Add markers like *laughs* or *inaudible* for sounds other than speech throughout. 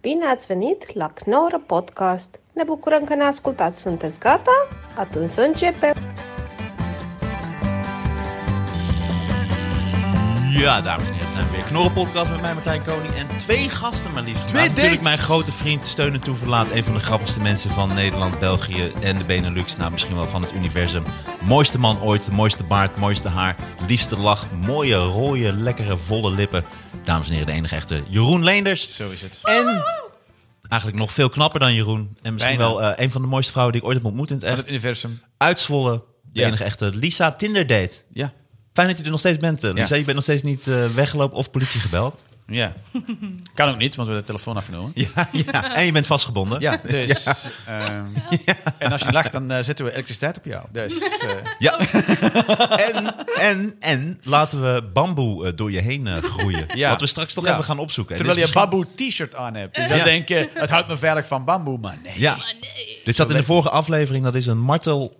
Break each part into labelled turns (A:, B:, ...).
A: Bine ați venit la Knorr Podcast! Ne bucurăm că ne ascultați! Sunteți gata? Atunci să începem!
B: Ja, dames en heren, zijn we weer. Knorren podcast met mij, Martijn Koning. En twee gasten maar liefst.
C: Twee
B: Maar Natuurlijk
C: dates!
B: mijn grote vriend, steun en toeverlaat. Een van de grappigste mensen van Nederland, België en de Benelux. Nou, misschien wel van het universum. Mooiste man ooit, mooiste baard, mooiste haar. Liefste lach, mooie, rode, lekkere, volle lippen. Dames en heren, de enige echte Jeroen Leenders.
C: Zo is het.
B: En eigenlijk nog veel knapper dan Jeroen. En misschien
C: Bijna.
B: wel eh, een van de mooiste vrouwen die ik ooit heb ontmoet in het
C: Van het
B: echt.
C: universum.
B: Uitzwollen, de
C: Ja.
B: enige echte Lisa Tinder date.
C: Ja.
B: Fijn dat je er nog steeds bent, eh, Lisa.
C: Ja.
B: Je bent nog steeds niet eh, weggelopen of politie
C: *laughs*
B: gebeld.
C: Ja. kan ook niet, want we hebben de telefoon afgenomen.
B: Ja, ja. *laughs* En je bent vastgebonden.
C: Ja, *laughs* dus...
B: *laughs*
C: ehm, En als je lacht, dan eh, zetten we elektriciteit op jou. Dus...
B: *laughs*
C: eh,
B: Ja. en, en, en laten we bamboe eh, door je heen eh, groeien.
C: *laughs* Ja.
B: Wat we straks toch
C: Ja.
B: even gaan opzoeken. En
C: terwijl je
B: dit
C: een
B: is misschien-
C: bamboe t-shirt aan hebt. Dus dan
B: Ja.
C: denk je, het houdt me veilig van bamboe, maar nee.
B: Ja. Dit zat in de vorige aflevering. Dat is een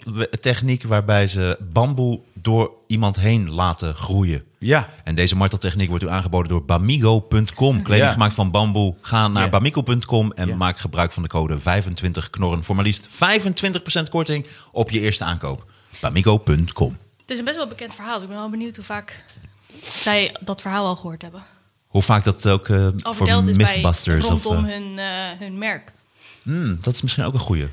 B: marteltechniek waarbij ze bamboe door iemand heen laten groeien.
C: Ja.
B: En deze marteltechniek wordt u aangeboden door bamigo.com. Kleding
C: Ja.
B: gemaakt van bamboe. Ga naar
C: Ja.
B: bamigo.com en
C: Ja.
B: maak gebruik van de code 25knorren. Voor maar liefst 25% korting op je eerste aankoop. bamigo.com.
D: Het is een best wel bekend verhaal. dus ik ben wel benieuwd hoe vaak zij dat verhaal al gehoord hebben.
B: Hoe vaak dat ook eh,
D: Al
B: voor
D: verteld is bij
B: Mythbusters. of,
D: rondom
B: eh,
D: hun, eh, hun merk. *laughs*
B: hmm, dat is misschien ook een goeie.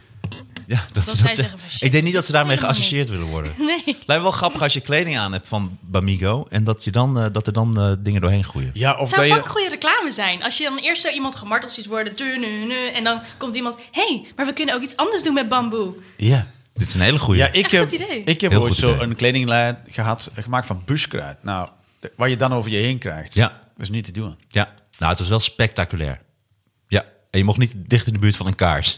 B: Ja, dat, ze
D: zij
B: dat
D: zeggen van, shit,
B: Ik denk niet dat ze daarmee
D: dat kan
B: geassocieerd willen worden.
D: Nee.
B: Lijkt me wel grappig als je kleding aan hebt van Bamigo. En dat, je dan, eh, dat er dan eh, dingen doorheen groeien.
C: Ja, of
D: Het zou
C: dat
D: fucking
C: je...
D: goede reclame zijn. Als je dan eerst zo iemand gemarteld ziet worden. tu, nu, nu, en dan komt iemand. Hé, hey, maar we kunnen ook iets anders doen met bamboe.
C: Ja.
B: Dit is een hele goeie.
C: Ja, ik
D: Echt
C: heb,
D: goed idee.
C: ik heb
B: Heel
C: ooit
B: goed idee.
C: zo'n kledinglijn gehad, eh, gemaakt van buskruid. Nou, de- wat je dan over je heen krijgt,
B: Ja.
C: is niet te doen.
B: Ja. Nou, het was wel spectaculair. Ja. En je mocht niet dicht in de buurt van een kaars. *laughs*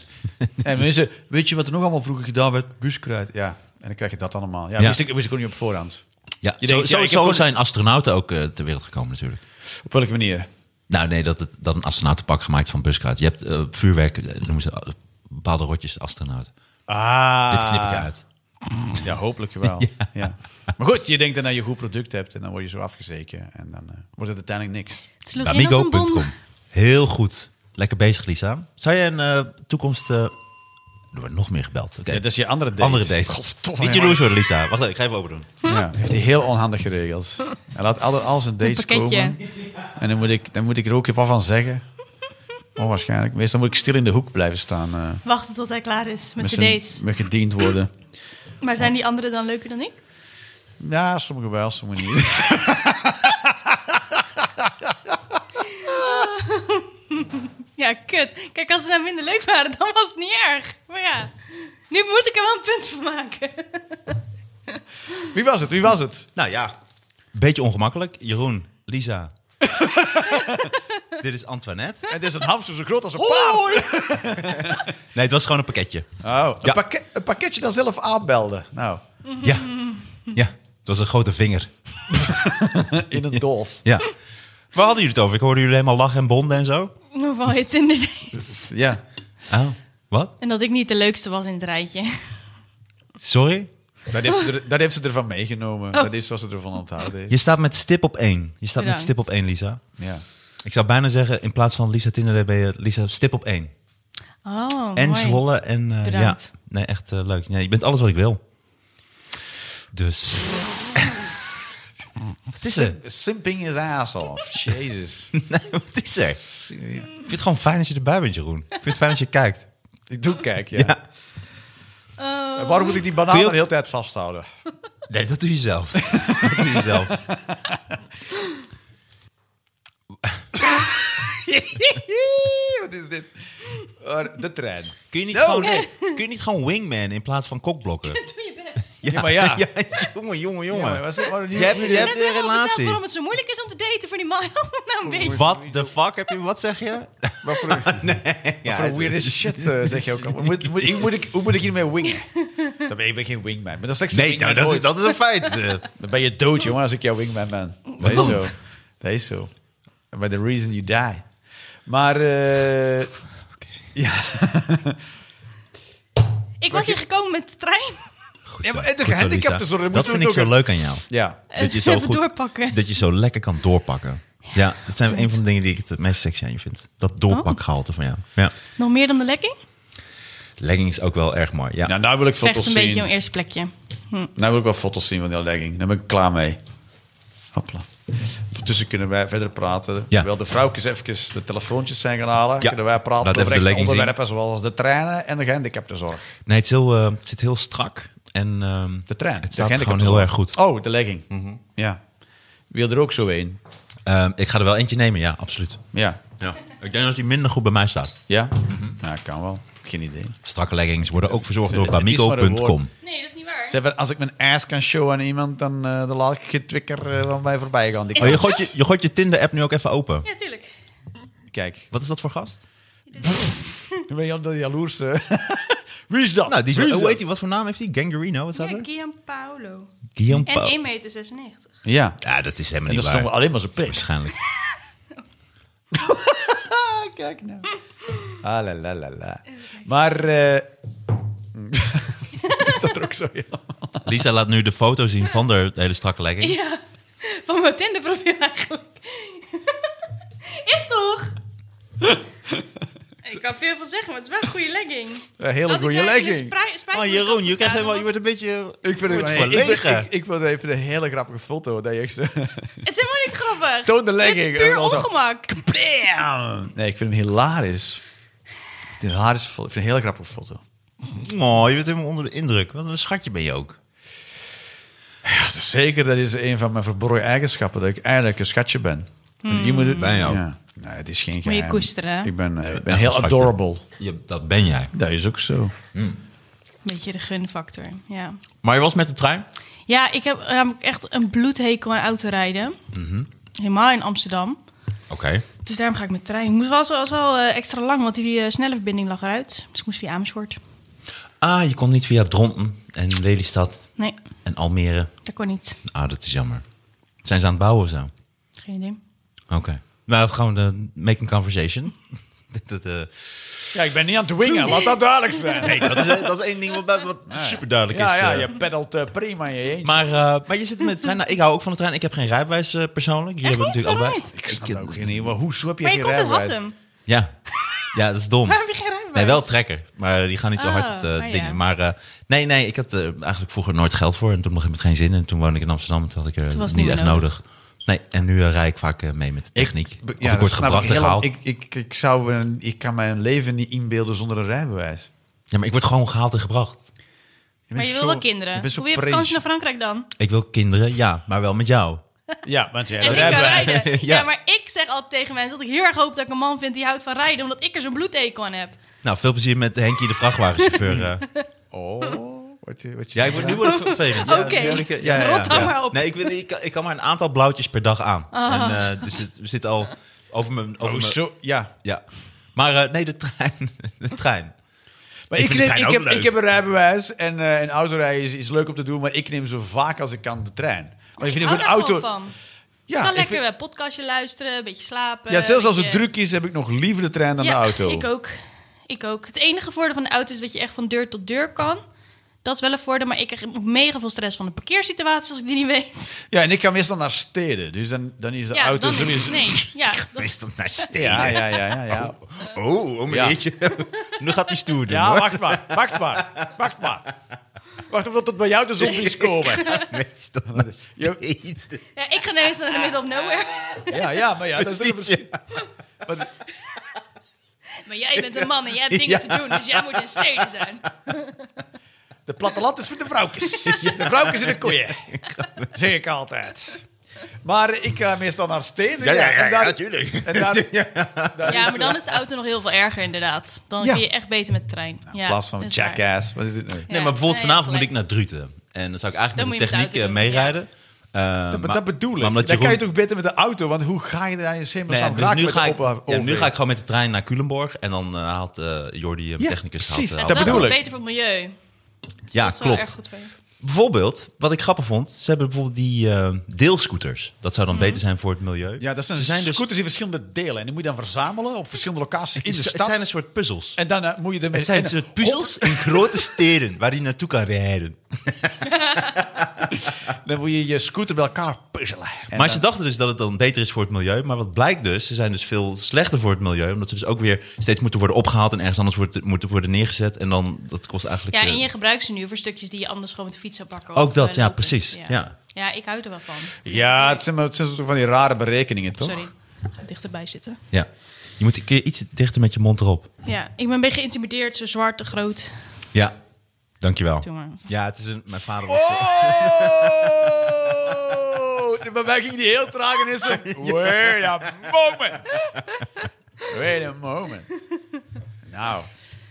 C: En mensen, weet je wat er nog allemaal vroeger gedaan werd? Buskruid. Dus- Ja, en dan krijg je dat allemaal. Ja,
B: Ja.
C: Wist, ik, wist ik ook niet op voorhand.
B: Ja.
C: Je
B: zo
C: denkt, ja,
B: zo-
C: ik heb
B: zo
C: gewoon-
B: zijn astronauten ook eh, ter wereld gekomen natuurlijk.
C: Op welke manier?
B: Nou nee, dat, het, dat een astronautenpak gemaakt van buskruid. Je hebt eh, vuurwerk, eh, noemen ze eh, bepaalde rotjes astronauten.
C: Ah.
B: Dit knip ik uit.
C: Ja, hopelijk wel. *laughs* ja. Maar goed, je denkt dan dat je een goed product hebt en dan word je zo afgezeken. En dan eh, wordt het uiteindelijk niks.
D: Het sloeg in als een
B: Amigo.com.
D: bom.
B: Heel goed. Lekker bezig, Lisa. Zou jij een eh, toekomst... eh, Er wordt nog meer gebeld. Oké.
C: Ja, dat is je andere date.
B: Andere date.
C: Godverdomme,
B: Niet
C: man.
B: jaloers worden, Lisa. Wacht even, ik ga even open doen.
C: Ja, heeft hij heel onhandig geregeld. Hij laat altijd al zijn dates
D: pakketje.
C: komen. En dan moet, ik, dan moet ik er ook wat van zeggen. Oh, waarschijnlijk. Meestal moet ik stil in de hoek blijven staan. eh,
D: Wachten tot hij klaar is met, zijn
C: zijn-
D: dates.
C: Met gediend worden.
D: Maar zijn die anderen dan leuker dan ik?
C: Ja, sommige wel, sommige niet. *laughs*
D: Ja, kut. Kijk, als ze nou minder leuk waren, dan was het niet erg. Maar ja, nu moet ik er wel een punt van maken.
C: Wie was het? Wie was het?
B: Nou ja. Beetje ongemakkelijk. Jeroen,
D: *laughs*
B: Lisa. Dit is Antoinette.
C: Het is een hamster zo groot als een
B: Nee, het was gewoon een pakketje.
C: paard. Oh,
B: Ja.
C: een, pakket, een pakketje dat zelf aanbelde. Nou,
B: Ja. Ja. Het was een grote vinger.
C: in een doos.
B: Ja. Waar hadden jullie het over? Ik hoorde jullie helemaal lachen en bonden en zo.
D: Nog wel je Tinder *laughs* dates.
C: Ja.
B: Oh, wat?
D: En dat ik niet de leukste was in het rijtje.
B: Sorry?
C: Dat heeft, ze er, dat heeft ze ervan meegenomen. Dat is wat ze ervan onthouden heeft.
B: Je staat met stip op één. Je staat
D: Bedankt.
B: met stip op één, Lisa.
C: Ja.
B: Ik zou bijna zeggen, in plaats van Lisa Tinder ben je Lisa stip op één.
D: Oh,
B: En
D: mooi.
B: Zwolle en... eh, ja,
D: Bedankt.
B: nee, echt eh, leuk. Nee, je bent alles wat ik wil. Dus... wat is er?
C: Simping is ass off. Jezus.
B: *laughs* Nee, wat is er? Ik vind het gewoon fijn als je erbij bent, Jeroen. Ik vind het fijn als je kijkt.
C: Ik doe kijk, ja.
B: Ja.
D: Oh.
C: Waarom moet ik die banaan
B: Kun je
C: de
B: ook-
C: hele tijd vasthouden? *laughs*
B: Nee, dat doe je *laughs* zelf. dat doe je zelf.
C: Wat is dit? Eh, De trein.
B: Kun je niet,
C: No.
B: gewoon, kun je niet gewoon wingman in plaats van kokblokken?
D: Doe je
B: *laughs*
D: best.
B: Ja,
C: maar ja.
B: jongen, jongen,
C: Ja, maar
B: jongen.
C: was het- waren die-
B: je hebt, je
D: Ik heb
B: hebt
D: net
B: een
D: helemaal verteld
B: relatie.
D: waarom het zo moeilijk is om te daten voor die man. *laughs* Help me nou een beetje.
B: What the fuck heb je? Wat zeg je?
C: Wat voor, wat voor
B: Ah, *laughs* het-
C: weird is shit, eh, zeg je ook al. Moet, moet, ik- moet ik, hoe moet ik hiermee wingen? Dan ben ik ben geen wingman. Maar dat is slechts een
B: *laughs* Nee, nou,
C: wingman
B: dat, is,
C: ooit.
B: dat is een feit. Eh,
C: Dan ben je dood, jongen, als ik jouw wingman ben. Dat is zo. Dat is zo. By the reason you die. Maar, eh ja.
D: Ik was hier gekomen met de trein.
B: *laughs* Goed
C: Ja, maar
B: zo.
C: en de
B: Goed zo,
C: gehandicapten,
B: Lisa.
C: sorry,
B: Dat
C: moeten
B: *laughs*
C: we
B: vind ik
C: het
B: zo
C: ook-
B: leuk aan jou.
C: ja.
B: Dat je
D: *laughs* Even
B: zo goed,
D: doorpakken.
B: Dat je zo lekker kan doorpakken. Ja, dat zijn een van de dingen die ik het meest sexy aan je vind. Dat doorpakgehalte van jou. Ja.
D: Nog meer dan de lekking?
B: Leggings ook wel erg mooi. Ja.
C: Nou, nou wil ik
D: Vecht
C: foto's
D: een beetje
C: zien.
D: om eerste plekje.
C: Nou wil ik wel foto's zien van die legging. Daar ben ik klaar mee. Hopla. Ondertussen kunnen wij verder praten.
B: Ja.
C: Terwijl de vrouwtjes even de telefoontjes zijn gaan halen.
B: Ja.
C: Kunnen wij praten
B: Laat
C: over
B: even de
C: echte
B: legging zien.
C: onderwerpen zoals de treinen en de gehandicaptenzorg.
B: Nee, het, is heel, eh, het zit heel strak. En, ehm,
C: De trein.
B: Het
C: de
B: staat gewoon
C: gehandicaptenzorg.
B: heel erg goed. Mhm.
C: Oh, de legging. Ja. Wil er ook zo een?
B: Ehm, ik ga er wel eentje nemen, ja, absoluut.
C: Ja.
B: Ja. Ik denk dat die minder goed bij mij staat.
C: Ja?
B: Mhm.
C: Ja, kan wel. Geen idee.
B: Strakke leggings worden ook verzorgd door
C: Het is maar een woord.
B: bamigo.com.
D: Nee, dat is niet waar.
C: Zeg maar, als ik mijn ass kan showen aan iemand, dan, eh, dan laat ik geen twikker eh, van mij voorbij gaan. Die
D: Is
B: Oh, je
D: dat
B: gooit je, je, gooit je Tinder-app nu ook even open.
D: Ja, tuurlijk.
C: Kijk,
B: Wat is dat voor gast?
C: dan ben je al de jaloerse. eh. *laughs* Wie is dat?
B: Nou, die is,
C: Wie
B: hoe
C: dat?
B: heet die? Wat voor naam heeft hij? Gangarino, wat staat
D: Ja,
B: er?
D: Paolo.
B: Guillaume
D: En
B: Pau-
D: 1,96 meter. 96.
C: Ja.
B: Ja, dat is helemaal
C: En
B: niet
C: dat is
B: waar.
C: nog alleen maar zijn pik.
B: Waarschijnlijk.
C: Ah, kijk nou. Ah, la, la, la, la. Maar... eh, dat er ook zo helemaal.
B: Lisa laat nu de foto zien van de hele strakke legging.
D: *laughs* Ja, van mijn Tinder-profiel eigenlijk. *laughs* is
B: *laughs*
D: toch? ik kan veel van zeggen, maar het is wel een goede legging.
C: Een hele
D: Als ik
C: goede
D: ergens een
C: legging.
D: sprij-
B: Oh,
D: spijkerbroek
B: Jeroen, je,
D: had
B: krijgt
D: gestaan,
B: helemaal, je
D: dan
B: wordt
D: was-
B: een beetje...
C: Ik vind het
B: Wordt
C: wel ik,
B: verlegen.
C: ik, ik wilde even een hele grappige foto. Dat je *laughs* echt zo...
D: Het is helemaal niet grappig.
C: Toon de
D: Het
C: legging.
D: is
C: En
D: puur
C: dan zo-
D: ongemak.
C: Bam! Nee, ik vind hem hilarisch. Ik vind, hem hilarisch, ik vind een hele grappige foto.
B: Oh, je bent helemaal onder de indruk. Wat een schatje ben je ook.
C: Ja, dat is zeker, dat is een van mijn verborgen eigenschappen. Dat ik eigenlijk een schatje ben. En je moet het,
B: Ben je ook.
C: Ja. Nee, het is geen
D: Moet je
C: geheim.
D: koesteren, hè?
C: Ik ben, eh, ik
B: echt
C: ben
B: een
C: heel
B: schatje.
C: adorable.
B: Je, dat ben jij.
C: Dat is ook zo.
D: Beetje de gunfactor, ja.
B: Maar je was met de trein?
D: Ja, ik heb namelijk echt een bloedhekel aan autorijden.
C: Mhm.
D: Helemaal in Amsterdam.
B: Oké.
D: Dus daarom ga ik met de trein. Ik moest wel, was wel eh, extra lang, want die eh, snelle verbinding lag eruit. Dus ik moest via Amersfoort.
B: Ah, je kon niet via Dronten en Lelystad
D: Nee,
B: en Almere.
D: dat kon niet.
B: Ah, dat is jammer. Zijn ze aan het bouwen of zo?
D: Geen idee.
B: Oké. Nou, gaan we de making conversation. *laughs* dat, eh,
C: Ja, ik ben niet aan het wingen, laat dat duidelijk zijn.
B: nee, dat is, dat is één ding wat, bij- wat super duidelijk
C: ja,
B: is.
C: ja,
B: eh.
C: je peddelt eh, prima in je eentje.
B: maar, eh, maar je zit met de trein. Nou, ik hou ook van de trein. Ik heb geen rijbewijs eh, persoonlijk. Jullie
D: Echt
B: hebben
D: niet?
B: natuurlijk
D: Waarom
B: allebei.
D: niet?
C: ik snap ook geen idee. maar Hoezo heb je
D: Maar je
C: geen
D: komt uit
C: rijbewijs?
D: Hattem.
B: Ja. ja, dat is
D: *laughs*
B: dom.
D: Waarom heb je geen rijbewijs?
B: Nee, wel trekker. Maar die gaan niet zo hard
D: Ah,
B: op de
D: ah,
B: dingen.
D: ja.
B: Maar eh, nee, nee, ik had eh, eigenlijk vroeger nooit geld voor. En toen mocht ik met geen zin. En toen woonde ik in Amsterdam. En toen had ik er
D: Toen was
B: niet
D: het niet
B: echt
D: meer
B: nodig. Nee, en nu eh, rijd ik vaak eh, mee met de techniek. Of
C: Be-
B: Ik,
C: dat
B: word
C: snap
B: gebracht en
C: heel-
B: gehaald.
C: Ik, ik, ik, zou een, ik kan mijn leven niet inbeelden zonder een rijbewijs.
B: Ja, maar ik word gewoon gehaald en gebracht.
C: bent
D: Maar je wil
C: zo-
D: wel
C: je
D: kinderen.
C: bent zo
D: Hoe je op
C: prees.
D: vakantie naar Frankrijk dan?
B: Ik wil kinderen, ja, maar wel met jou.
C: Ja, want jij
D: En
C: hebt
D: ik kan
C: rijbewijs. *laughs*
D: rijden. Ja.
B: Ja.
D: maar ik zeg altijd tegen mensen dat ik heel erg hoop dat ik een man vind die houdt van rijden, omdat ik er zo'n bloedhekel aan heb.
B: Nou, veel plezier met Henkie de vrachtwagenchauffeur.
C: *laughs*
B: eh.
C: Oh, wat je, wat je
B: ja, ik word, nu word ik vervelend. Ja,
D: *laughs* Oké.
B: ja, ik- ja, ja, ja.
D: Rot dan
B: Ja.
D: maar op. Ah.
B: Nee, ik, wil- ik, kan- ik kan maar een aantal blauwtjes per dag aan. En, eh, dus het, we zitten al over mijn... Over
C: Oh,
B: mijn-
C: zo, ja.
B: Ja. Maar eh, nee, de trein. *laughs* De trein.
C: Maar
B: Ik
C: ik,
B: vind
C: neem,
B: de trein
C: ik,
B: ook
C: heb,
B: leuk.
C: ik heb een rijbewijs en eh een autorijden is, is leuk om te doen, maar ik neem zo vaak als ik kan de trein. Maar ik vind ook
D: hou
C: een
D: daar
C: auto.
D: gewoon van.
C: Ja,
D: kan
C: ik
D: lekker
C: vind-
D: een podcastje luisteren, een beetje slapen.
C: ja, zelfs als
D: een
C: het
D: beetje-
C: druk is, heb ik nog liever de trein dan
D: ja, *laughs*
C: de auto.
D: ik ook. Ik ook. Het enige voordeel van de auto is dat je echt van deur tot deur kan. Dat is wel een voordeel, maar ik krijg ook mega veel stress van de parkeersituatie als ik die niet weet.
C: Ja, en ik kan meestal naar steden, dus dan, dan is de
D: ja,
C: auto
D: dan is het-
C: sowieso.
D: Nee,
C: *laughs*
D: ja, dat is
B: Meestal naar steen.
C: Ja, ja, ja, ja. Ja,
B: Oh, oh
C: Ja.
B: meneertje. *laughs* nu gaat hij stoer doen,
C: ja
B: hoor.
C: wacht maar, wacht maar, wacht maar. Wacht omdat tot bij jou de zon
B: *laughs*
C: is komen.
B: Meestal naar steen.
D: Ja, ik ga ineens naar de middle of nowhere.
C: Ja, ja, maar ja, dat is
B: Precies, ja.
D: Maar jij bent een man en jij hebt dingen te doen, dus jij moet in steden
C: *laughs*
D: zijn.
C: De platteland is voor de
B: *laughs*
C: vrouwtjes. De vrouwtjes en de koeien. Zeg ik altijd. Maar ik ga meestal naar steden.
B: Ja, ja, ja,
C: en daar-
B: natuurlijk.
C: En daar,
B: *laughs*
C: daar
D: Ja,
C: is, eh,
D: maar dan is de auto nog heel veel erger inderdaad. Dan
C: Ja.
D: kun je echt beter met de trein. Ja,
C: In plaats van
D: dat is waar.
C: jackass. Wat is dit nou?
B: Nee,
D: Ja,
B: maar bijvoorbeeld
D: nee,
B: vanavond moet
D: gelijk.
B: ik naar Druten. En dan zou ik eigenlijk
D: Dan
B: met
D: moet
B: de
D: je met de
B: techniek eh,
D: auto doen,
B: meerijden. Eh,
C: Maar
B: maar-
C: dat bedoel ik.
B: maar
C: Dan
B: omdat Jeroen-
C: kan je toch beter met de auto, want hoe ga je daar in
B: Nee,
C: hemelsnaam
B: dus
C: raken
B: nu
C: met
B: ga,
C: de
B: ik,
C: op-
B: ja, nu
C: overweg?
B: ga ik gewoon met de trein naar Culemborg. En dan eh, haalt eh, Jordi, eh, mijn
C: Ja,
B: technicus, haalt, eh,
C: precies.
D: En
B: haalt-
C: Dat
D: dat is
C: bedoel
D: wel
C: ik.
D: beter voor het milieu. Dus
B: Ja,
D: dat is wel
B: klopt.
D: erg goed voor je.
B: Bijvoorbeeld, wat ik grappig vond, ze hebben bijvoorbeeld die eh, deelscooters. Dat zou dan
D: Mhm.
B: beter zijn voor het milieu.
C: Ja, dat zijn,
B: Ze
C: scooters
B: dus-
C: in verschillende delen. En die moet je dan verzamelen op verschillende locaties in de
B: het,
C: stad.
B: zijn een soort puzzels.
C: En dan eh, moet je er met
B: Het zijn
C: en-
B: een soort puzzels in grote steden waar hij naartoe kan rijden.
C: Dan moet je je scooter bij elkaar puzzelen. En
B: maar ze
C: dan-
B: dachten dus dat het dan beter is voor het milieu. Maar wat blijkt dus, ze zijn dus veel slechter voor het milieu. Omdat ze dus ook weer steeds moeten worden opgehaald en ergens anders wordt- moeten worden neergezet. En dan, dat kost eigenlijk...
D: Ja,
B: eh,
D: en je gebruikt ze nu voor stukjes die je anders gewoon met de fiets zou pakken.
B: Ook
D: of,
B: dat,
D: eh,
B: ja,
D: lopend.
B: precies, ja.
D: ja. Ja, ik hou er wel van.
C: ja, het zijn, maar- het zijn soort van die rare berekeningen, toch?
D: Sorry, ik ga dichterbij zitten.
B: Ja. Je moet een keer iets dichter met je mond erop.
D: Ja, ik ben een beetje geïntimideerd. Zo zwart, te groot.
B: Ja, dankjewel.
D: Doe maar.
B: Ja, het is een... Mijn vader was...
C: Oh! De bewerking die heel traag en is. zo,
B: *laughs*
C: Wait a moment. Wait a moment. Nou.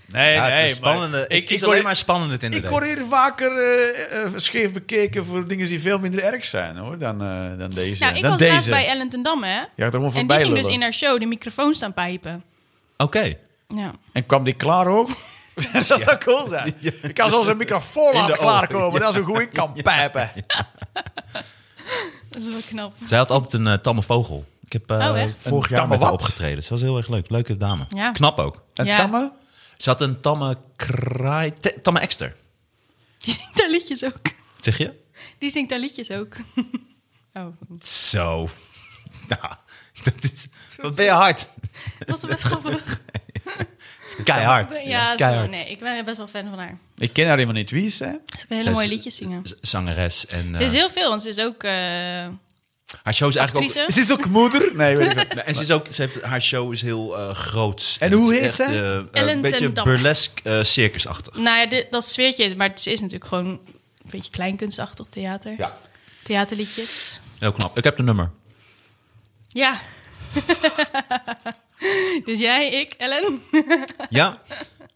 C: Nee,
B: Ja,
C: nee.
B: het is een
C: maar
B: spannende... Ik,
C: ik,
B: is
C: ik,
B: alleen
C: word,
B: maar spannend
C: ik
B: inderdaad.
C: word hier vaker eh, eh, scheef bekeken voor dingen die veel minder erg zijn hoor, dan, eh, dan deze.
D: Nou, ik
C: dan
D: was
C: deze.
D: laatst bij Ellen ten Damme, hè.
C: Je gaat er gewoon
D: en die
C: voorbij
D: ging dus
C: lullen.
D: in haar show de microfoon staan pijpen.
B: Oké.
D: Ja.
C: En kwam die klaar
D: *laughs*
C: ook? dat zou cool zijn. Ik kan zelfs een microfoon laten
B: ogen,
C: klaarkomen. Dat is hoe goed ik kan pijpen.
D: Dat is wel knap. *laughs*
B: Zij had altijd een eh, tamme vogel. Ik heb eh,
D: Oh, echt?
B: vorig
C: Een
B: jaar
C: tamme
B: met haar
C: wat?
B: opgetreden. Ze was heel erg leuk. Leuke dame.
D: Ja.
B: Knap ook.
C: En
D: Ja.
C: tamme?
B: Ze had een tamme kraai... te- Tamme ekster.
D: Die zingt haar liedjes ook.
B: Zeg je?
D: Die zingt haar liedjes ook. *laughs* Oh,
B: Zo. *laughs* Nou, dat is... Wat ben je hard?
D: dat was best
B: *laughs*
D: grappig.
B: Keihard.
D: Ja, zo,
B: keihard.
D: nee, ik ben best wel fan van haar.
C: Ik ken haar helemaal niet. Wie is zij?
D: Ze kan hele
B: Zij is-
D: mooie liedjes zingen.
B: z- Zangeres en... eh,
D: Ze is heel veel, want ze is ook... eh,
B: haar show is eigenlijk ook...
D: actrice.
C: Is dit ook moeder? Nee,
B: *laughs*
C: weet ik niet.
B: Nee, en ze is ook, ze heeft, haar show is heel eh groot.
C: En hoe
B: het is
C: heet
B: echt,
C: zij?
B: eh, een
D: Ellen ten
B: beetje
D: Damme.
B: burlesque eh, circusachtig.
D: Nou ja, dit- dat sfeertje, maar ze is natuurlijk gewoon een beetje kleinkunstachtig theater.
B: Ja.
D: Theaterliedjes.
B: Heel knap. Ik heb de nummer.
D: Ja. *laughs* dus jij, ik, Ellen.
B: Ja?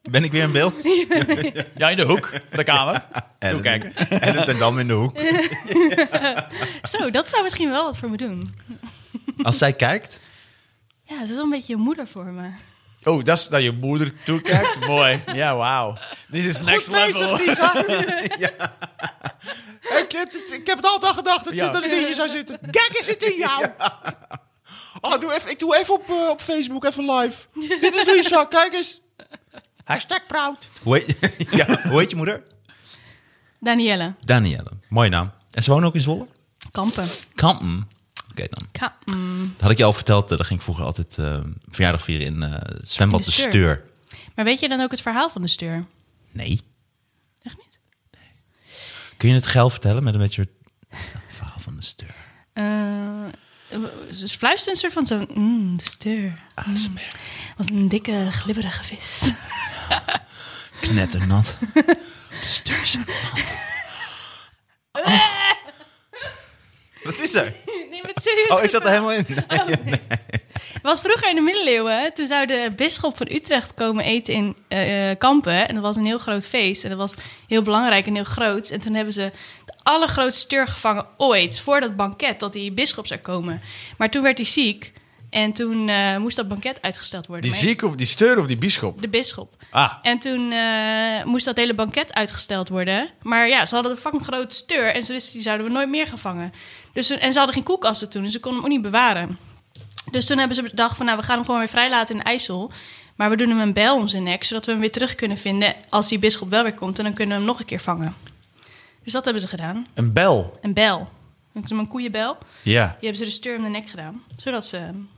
B: Ben ik weer in beeld?
D: *laughs*
C: Ja, in de hoek van de kamer.
B: Ellen.
C: kijken.
B: Ellen ten Damme in de hoek.
D: Zo, dat zou misschien wel wat voor me doen.
B: Als zij kijkt,
D: Ja, ze is wel een beetje een moeder voor me.
C: Oh, dat is dat je moeder
B: *laughs*
C: toekijkt. Mooi. Ja, wauw. This is next level. *laughs*
B: Ik heb, het, ik heb het altijd al gedacht dat,
C: Ja.
B: dat ik in je zou zitten. *laughs* Kijk, er zit in jou. Oh, doe even, ik doe even op, eh, op Facebook, even live. Dit is Lisa, kijk eens. Hashtag proud. Hoe heet, *laughs* ja, hoe heet je moeder?
D: Danielle.
B: Danielle. Mooie naam. En ze woont ook in Zwolle?
D: Kampen.
B: Kampen. Oké dan.
D: Ka- mm.
B: Dat had ik je al verteld. eh, Daar ging ik vroeger altijd eh, verjaardag vieren in eh, het zwembad
D: In
B: de
D: de
B: Steur.
D: Steur. Maar weet je dan ook het verhaal van de steur?
B: Nee.
D: Echt niet?
B: Kun je het geil vertellen met een beetje het verhaal van de Steur?
D: Mm. Eh, ze fluisteren ze van zo'n... Mm, de steur
B: ASMR.
D: was een dikke, glibberige vis. *laughs*
B: Knetternat. De Steur is een nat. Oh. Wat is er?
D: nee, maar serieus.
B: Oh, ik zat er helemaal in.
D: nou, was vroeger in de middeleeuwen. Toen zou de bisschop van Utrecht komen eten in eh, eh, Kampen. En dat was een heel groot feest. En dat was heel belangrijk en heel groot. En toen hebben ze de allergrootste steur gevangen ooit. Voor dat banket dat die bisschop zou komen. Maar toen werd hij ziek. En toen eh, moest dat banket uitgesteld worden.
C: Die
D: Maar-
C: ziek of die steur of die bischop?
D: De bisschop.
C: Ah.
D: En toen eh, moest dat hele banket uitgesteld worden. Maar ja, ze hadden een fucking grote steur. En ze wisten, die zouden we nooit meer gaan vangen. Dus, toen- en ze hadden geen koelkasten toen, dus ze konden hem ook niet bewaren. Dus toen hebben ze bedacht van, nou, we gaan hem gewoon weer vrijlaten in de IJssel. Maar we doen hem een bijl om zijn nek, zodat we hem weer terug kunnen vinden... als die bisschop wel weer komt en dan kunnen we hem nog een keer vangen. Dus dat hebben ze gedaan.
C: Een bel.
D: Een bijl. Noemen ze hem Een koeienbel.
C: Ja.
D: Die hebben ze de steur om de nek gedaan. Zodat ze hem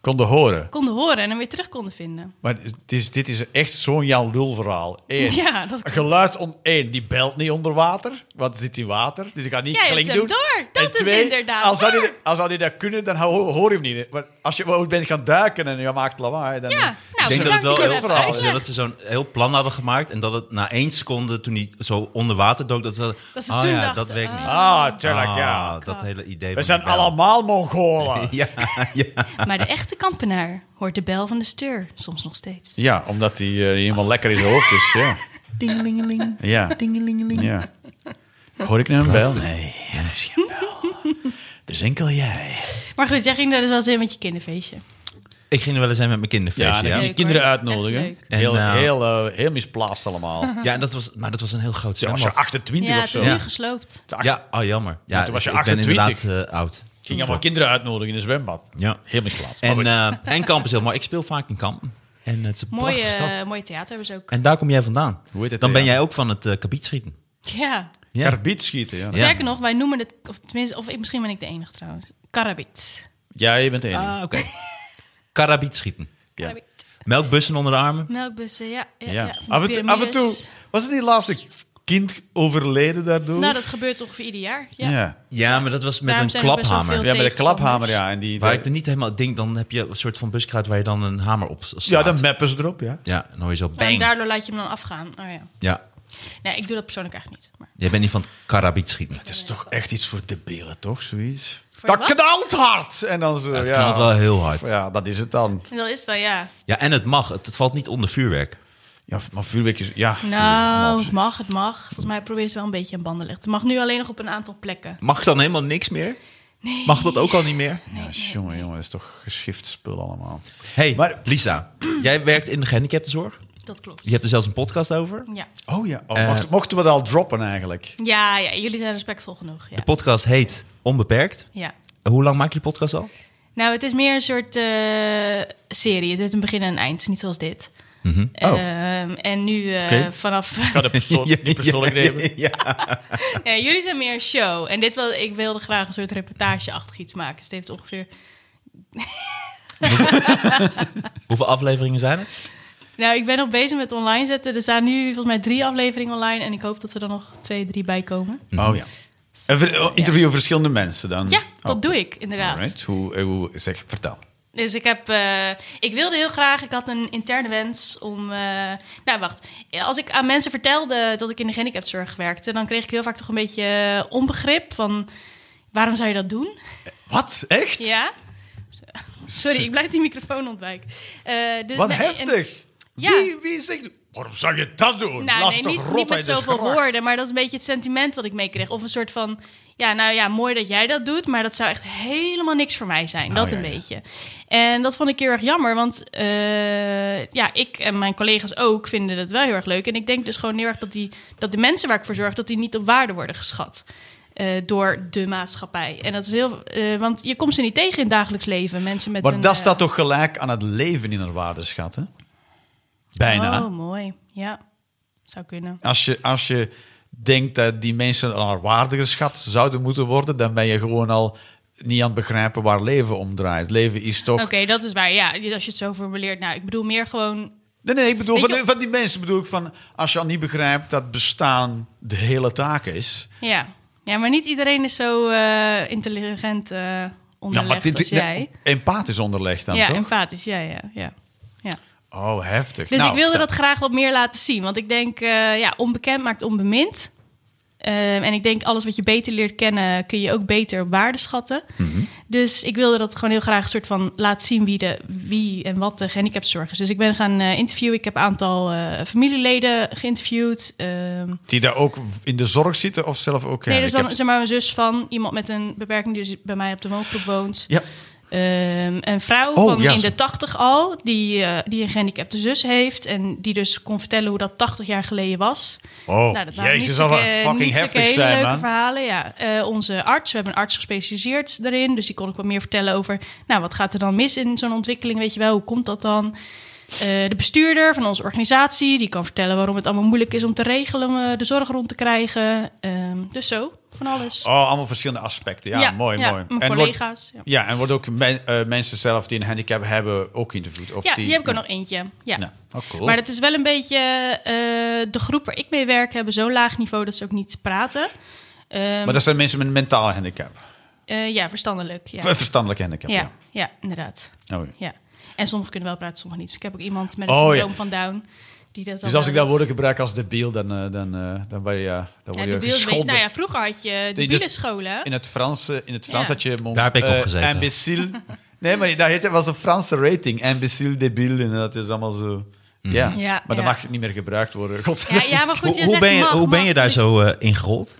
C: Konden horen.
D: konden horen en hem weer terug konden vinden.
C: Maar het is, dit is echt zo'n Jan Lul verhaal. Eén.
D: Ja, dat
C: Een Geluid om één. Die belt niet onder water, want er zit in water. Dus die gaat niet
D: Jij hebt
C: klink
D: hem
C: doen.
D: door. Dat
C: En
D: is
C: twee,
D: inderdaad
C: Als zou, die,
D: waar.
C: als zou die dat kunnen, dan ho- hoor je hem niet. Maar als je ooit bent gaan duiken en je maakt lawaai, dan...
D: Ja,
B: Ik
D: nou,
B: denk dat het wel
D: bedankt
B: heel
D: voor
B: grappig
D: uitleg.
B: is dat ze zo'n heel plan hadden gemaakt. En dat het na één seconde, toen hij zo onder water dook, dat ze.
D: Dat ze
B: ah
D: toen
B: ja,
D: dachten,
B: dat werkt
D: ah.
B: niet.
C: Ah, tuurlijk, ja.
B: Ah, dat hele idee.
C: We
B: van
C: zijn
B: die bel.
C: allemaal Mongolen.
B: Ja, ja.
D: Maar de echte kampenaar hoort de bel van de steur soms nog steeds.
C: *laughs* Ja, omdat die eh, helemaal lekker in zijn hoofd is. Ja.
B: Dingelingeling.
C: ja.
B: Dingelingeling.
C: ja. Hoor ik nou een bel? Nee, er is geen bel. Er is enkel jij.
D: Maar goed, jij ging daar dus wel eens in met je kinderfeestje.
B: Ik ging er wel eens heen met mijn kinderfeestje.
C: Ja,
B: Ja,
D: Leuk,
C: die
D: hoor.
C: kinderen
D: Echt
C: uitnodigen.
D: leuk.
B: En,
C: heel,
B: nou-
C: heel, eh, heel misplaatst allemaal.
B: ja en dat was, maar dat was een heel groot
C: Toen was je
B: zwembad.
C: 28
D: ja,
C: of zo.
D: toen is
B: Ja.
D: je gesloopt.
C: Toen
B: Ja, oh jammer. Ja,
C: Ja, toen was je
B: ik- ik ben
C: 28.
B: inderdaad eh, oud.
C: Ging allemaal kinderen uitnodigen in een zwembad.
B: Ja.
C: Heel misplaatst. Maar
B: En,
C: goed.
B: eh, en Kamp is heel mooi. Ik speel vaak in Kampen. En het is een
D: Mooie, eh,
B: prachtige stad.
D: mooie theater hebben ze ook.
B: En daar kom jij vandaan.
C: Hoe heet het
B: Dan ben
C: theater?
B: jij ook van het eh, kabietschieten.
D: Ja,
B: Ja.
C: Karbiet schieten, ja.
D: Sterker nog, wij noemen het, of tenminste, of ik, misschien ben ik de enige trouwens. Karabit.
C: Ja, je bent één.
B: Ah, oké. Karabiet schieten.
C: Ja.
D: Karabit.
B: Melkbussen onder de armen.
D: Melkbussen, ja. ja,
C: Ja.
D: ja, van die
C: af, en toe, af en toe.
D: piramides.
C: Was het niet laatste kind overleden daardoor?
D: Nou, dat gebeurt ongeveer ieder jaar.
C: ja.
D: Ja.
C: Ja.
B: Ja, maar dat was met
D: Daarom
B: een
D: zijn er best wel
B: klaphamer.
D: veel-
C: met de klaphamer, ja. En die,
B: Waar ik er niet helemaal denk, dan heb je een soort van buskruid waar je dan een hamer op slaat.
C: ja, dan mappen ze erop, ja.
B: Ja, dan hoor je zo
D: Ja, En
B: bang.
D: daardoor laat je hem dan afgaan. Oh, ja.
B: Ja,
D: Nee, ik doe dat persoonlijk eigenlijk niet. Maar
B: jij bent niet van het karabiet schieten.
C: Het is toch echt iets voor debielen, toch? Zoiets.
D: Voor
C: dat
D: wat?
C: knalt hard! En dan zo,
B: Het
C: ja.
B: knalt wel heel hard. Ja,
C: Ja, dat is het dan.
D: dat is dan, ja.
B: en het mag. Het, het valt niet onder vuurwerk.
C: Ja, maar vuurwerk is... Ja, vuurwerk,
D: Nou,
C: man.
D: het mag, het mag. Volgens mij probeer ze wel een beetje aan banden te leggen. Het mag nu alleen nog op een aantal plekken.
B: Mag dan helemaal niks meer? Mag dat ook al niet meer?
C: Ja, Ah, jongen, jongen, dat is toch geschift spul allemaal.
B: hey,
C: Maar-
B: Lisa, *clears throat* jij werkt in de gehandicaptenzorg.
D: Dat klopt.
B: Je hebt er zelfs een podcast over.
D: Ja,
C: Oh ja, oh,
B: Eh,
C: mocht- mochten we dat al droppen eigenlijk?
D: ja, ja jullie zijn respectvol genoeg. Ja.
B: De podcast heet Onbeperkt.
D: ja.
B: Hoe lang maak je de podcast al?
D: Nou, het is meer een soort eh, serie. Het heeft een begin en een eind, Het is niet zoals dit. Ehm, en nu eh,
C: Mhm. Oh. Oké.
D: vanaf...
C: Kan de persoon
B: *laughs* niet persoonlijk
C: nemen.
D: *laughs* Nee, jullie zijn meer een show. En dit wil, ik wilde graag een soort reportageachtig iets maken. Dus het heeft ongeveer...
B: Hoeveel afleveringen zijn het?
D: Nou, ik ben nog bezig met online zetten. Er staan nu volgens mij drie afleveringen online. En ik hoop dat er dan nog twee, drie bij komen.
C: Oh ja. En ver- oh, interview verschillende mensen dan?
D: Ja, dat
C: Oh,
D: doe ik inderdaad.
C: alright. Hoe, eh, hoe, zeg, vertel.
D: Dus ik heb, eh, ik wilde heel graag, ik had een interne wens om, eh, nou wacht, als ik aan mensen vertelde dat ik in de gehandicaptenzorg werkte, dan kreeg ik heel vaak toch een beetje eh, onbegrip van, waarom zou je dat doen?
C: Wat? Echt?
D: Ja? *laughs* Sorry, ik blijf die microfoon ontwijken. Eh, dus-
C: Wat
D: nee, en-
C: heftig.
D: Ja.
C: Wie, wie zegt... Waarom zou je dat doen?
D: Nou,
C: Laat
D: nee,
C: toch
D: niet,
C: rot
D: niet met
C: uit de
D: zoveel
C: gracht.
D: woorden, maar dat is een beetje het sentiment wat ik meekreeg. Of een soort van, ja, nou ja, mooi dat jij dat doet, maar dat zou echt helemaal niks voor mij zijn. dat
C: Oh, ja,
D: een
C: ja.
D: beetje. En dat vond ik heel erg jammer, want eh, ja, ik en mijn collega's ook vinden het wel heel erg leuk. En ik denk dus gewoon heel erg dat, die, dat de mensen waar ik voor zorg, dat die niet op waarde worden geschat. eh, door de maatschappij. En dat is heel. eh, want je komt ze niet tegen in het dagelijks leven. Mensen met
C: Maar
D: een.
C: dat
D: eh,
C: staat toch gelijk aan het leven in haar waarde, schat, hè? Bijna.
D: Oh, mooi. Ja, zou kunnen.
C: Als je, als je denkt dat die mensen aan haar waarde geschat zouden moeten worden, dan ben je gewoon al niet aan het begrijpen waar leven om draait. Leven is toch...
D: Oké, dat is waar. Ja, als je het zo formuleert. Nou, ik bedoel meer gewoon.
C: Nee, nee, ik bedoel,
D: Weet
C: van,
D: je-
C: die- van die mensen bedoel ik van... Als je al niet begrijpt dat bestaan de hele taak is...
D: Ja, ja maar niet iedereen is zo eh, intelligent eh onderlegd
C: dit-
D: als
C: nee,
D: jij.
C: empathisch onderlegd dan,
D: ja,
C: toch?
D: empathisch. Ja, ja, ja. ja.
C: Oh, heftig.
D: Dus
C: Nou,
D: ik wilde
C: vertel.
D: dat graag wat meer laten zien. Want ik denk, eh, ja, onbekend maakt onbemind. Ehm, en ik denk, alles wat je beter leert kennen, kun je ook beter op waarde schatten.
C: Mhm.
D: Dus ik wilde dat gewoon heel graag een soort van laten zien wie, de, wie en wat de gehandicaptenzorg is. Dus ik ben gaan eh, interviewen. Ik heb een aantal eh, familieleden geïnterviewd. Ehm,
C: Die daar ook in de zorg zitten of zelf ook...
D: Nee,
C: ja,
D: dus
C: ik
D: dan
C: heb-
D: zeg maar mijn zus van iemand met een beperking die dus bij mij op de woongroep woont.
C: Ja,
D: Ehm, een vrouw
C: Oh,
D: van
C: ja,
D: in
C: zo.
D: de tachtig al, die, eh, die een gehandicapte zus heeft. En die dus kon vertellen hoe dat 80 jaar geleden was.
C: Oh,
D: Nou, waren
C: jezus, dat
D: niet zulke-
C: zou fucking
D: niet zulke
C: heftig
D: hele
C: zijn,
D: leuke
C: man.
D: verhalen, ja. Eh, onze arts, we hebben een arts gespecialiseerd daarin. Dus die kon ik wat meer vertellen over... nou, wat gaat er dan mis in zo'n ontwikkeling, weet je wel? Hoe komt dat dan? Eh, de bestuurder van onze organisatie... die kan vertellen waarom het allemaal moeilijk is om te regelen... om eh, de zorg rond te krijgen. Ehm, dus zo, van alles.
C: Oh, allemaal verschillende aspecten. Ja,
D: Ja,
C: mooi,
D: ja,
C: mooi.
D: mijn
C: wordt-
D: collega's, ja.
C: ja. en worden ook men- eh, mensen zelf die een handicap hebben ook geïnterviewd? Of
D: ja, die, heb ik er nog eentje. Ja.
C: Ja, oh, cool.
D: Maar dat is wel een beetje... eh, de groep waar ik mee werk hebben zo'n laag niveau... dat ze ook niet praten. Ehm,
C: Maar dat zijn mensen met een mentale handicap.
D: eh, ja, verstandelijk. Ja,
C: Ver- Verstandelijke handicap,
D: ja,
C: ja.
D: ja inderdaad.
C: Oh, ja.
D: Ja. En sommigen kunnen wel praten, sommigen niet. Dus ik heb ook iemand met een
C: Oh, ja.
D: syndroom van Down. Die dat
C: Dus
D: dan
C: als ik
D: wel
C: dat woorden gebruik als debiel, dan, eh, dan, eh, dan word je, eh, dan
D: doet.
C: word
D: Ja,
C: je
D: de beeld-
C: gescholden.
D: nou ja, vroeger had je de
C: dat-
D: bielenscholen.
C: In het Frans, eh, in het Frans
D: Ja.
C: had je... mon-
B: Daar heb ik op
C: eh,
B: gezeten.
C: Imbecile. *laughs* nee, maar daar heette, was een Franse rating. Imbecile, debiel. En dat is allemaal zo...
B: Mhm.
C: Ja.
D: Ja,
C: maar dat
D: ja.
C: mag niet meer gebruikt worden. *laughs* God.
D: Ja, ja, maar goed,
B: Hoe,
D: je
B: hoe
D: zegt
B: ben je,
D: mag,
B: hoe ben
D: mag,
B: je daar
D: dus-
B: zo eh, ingerold?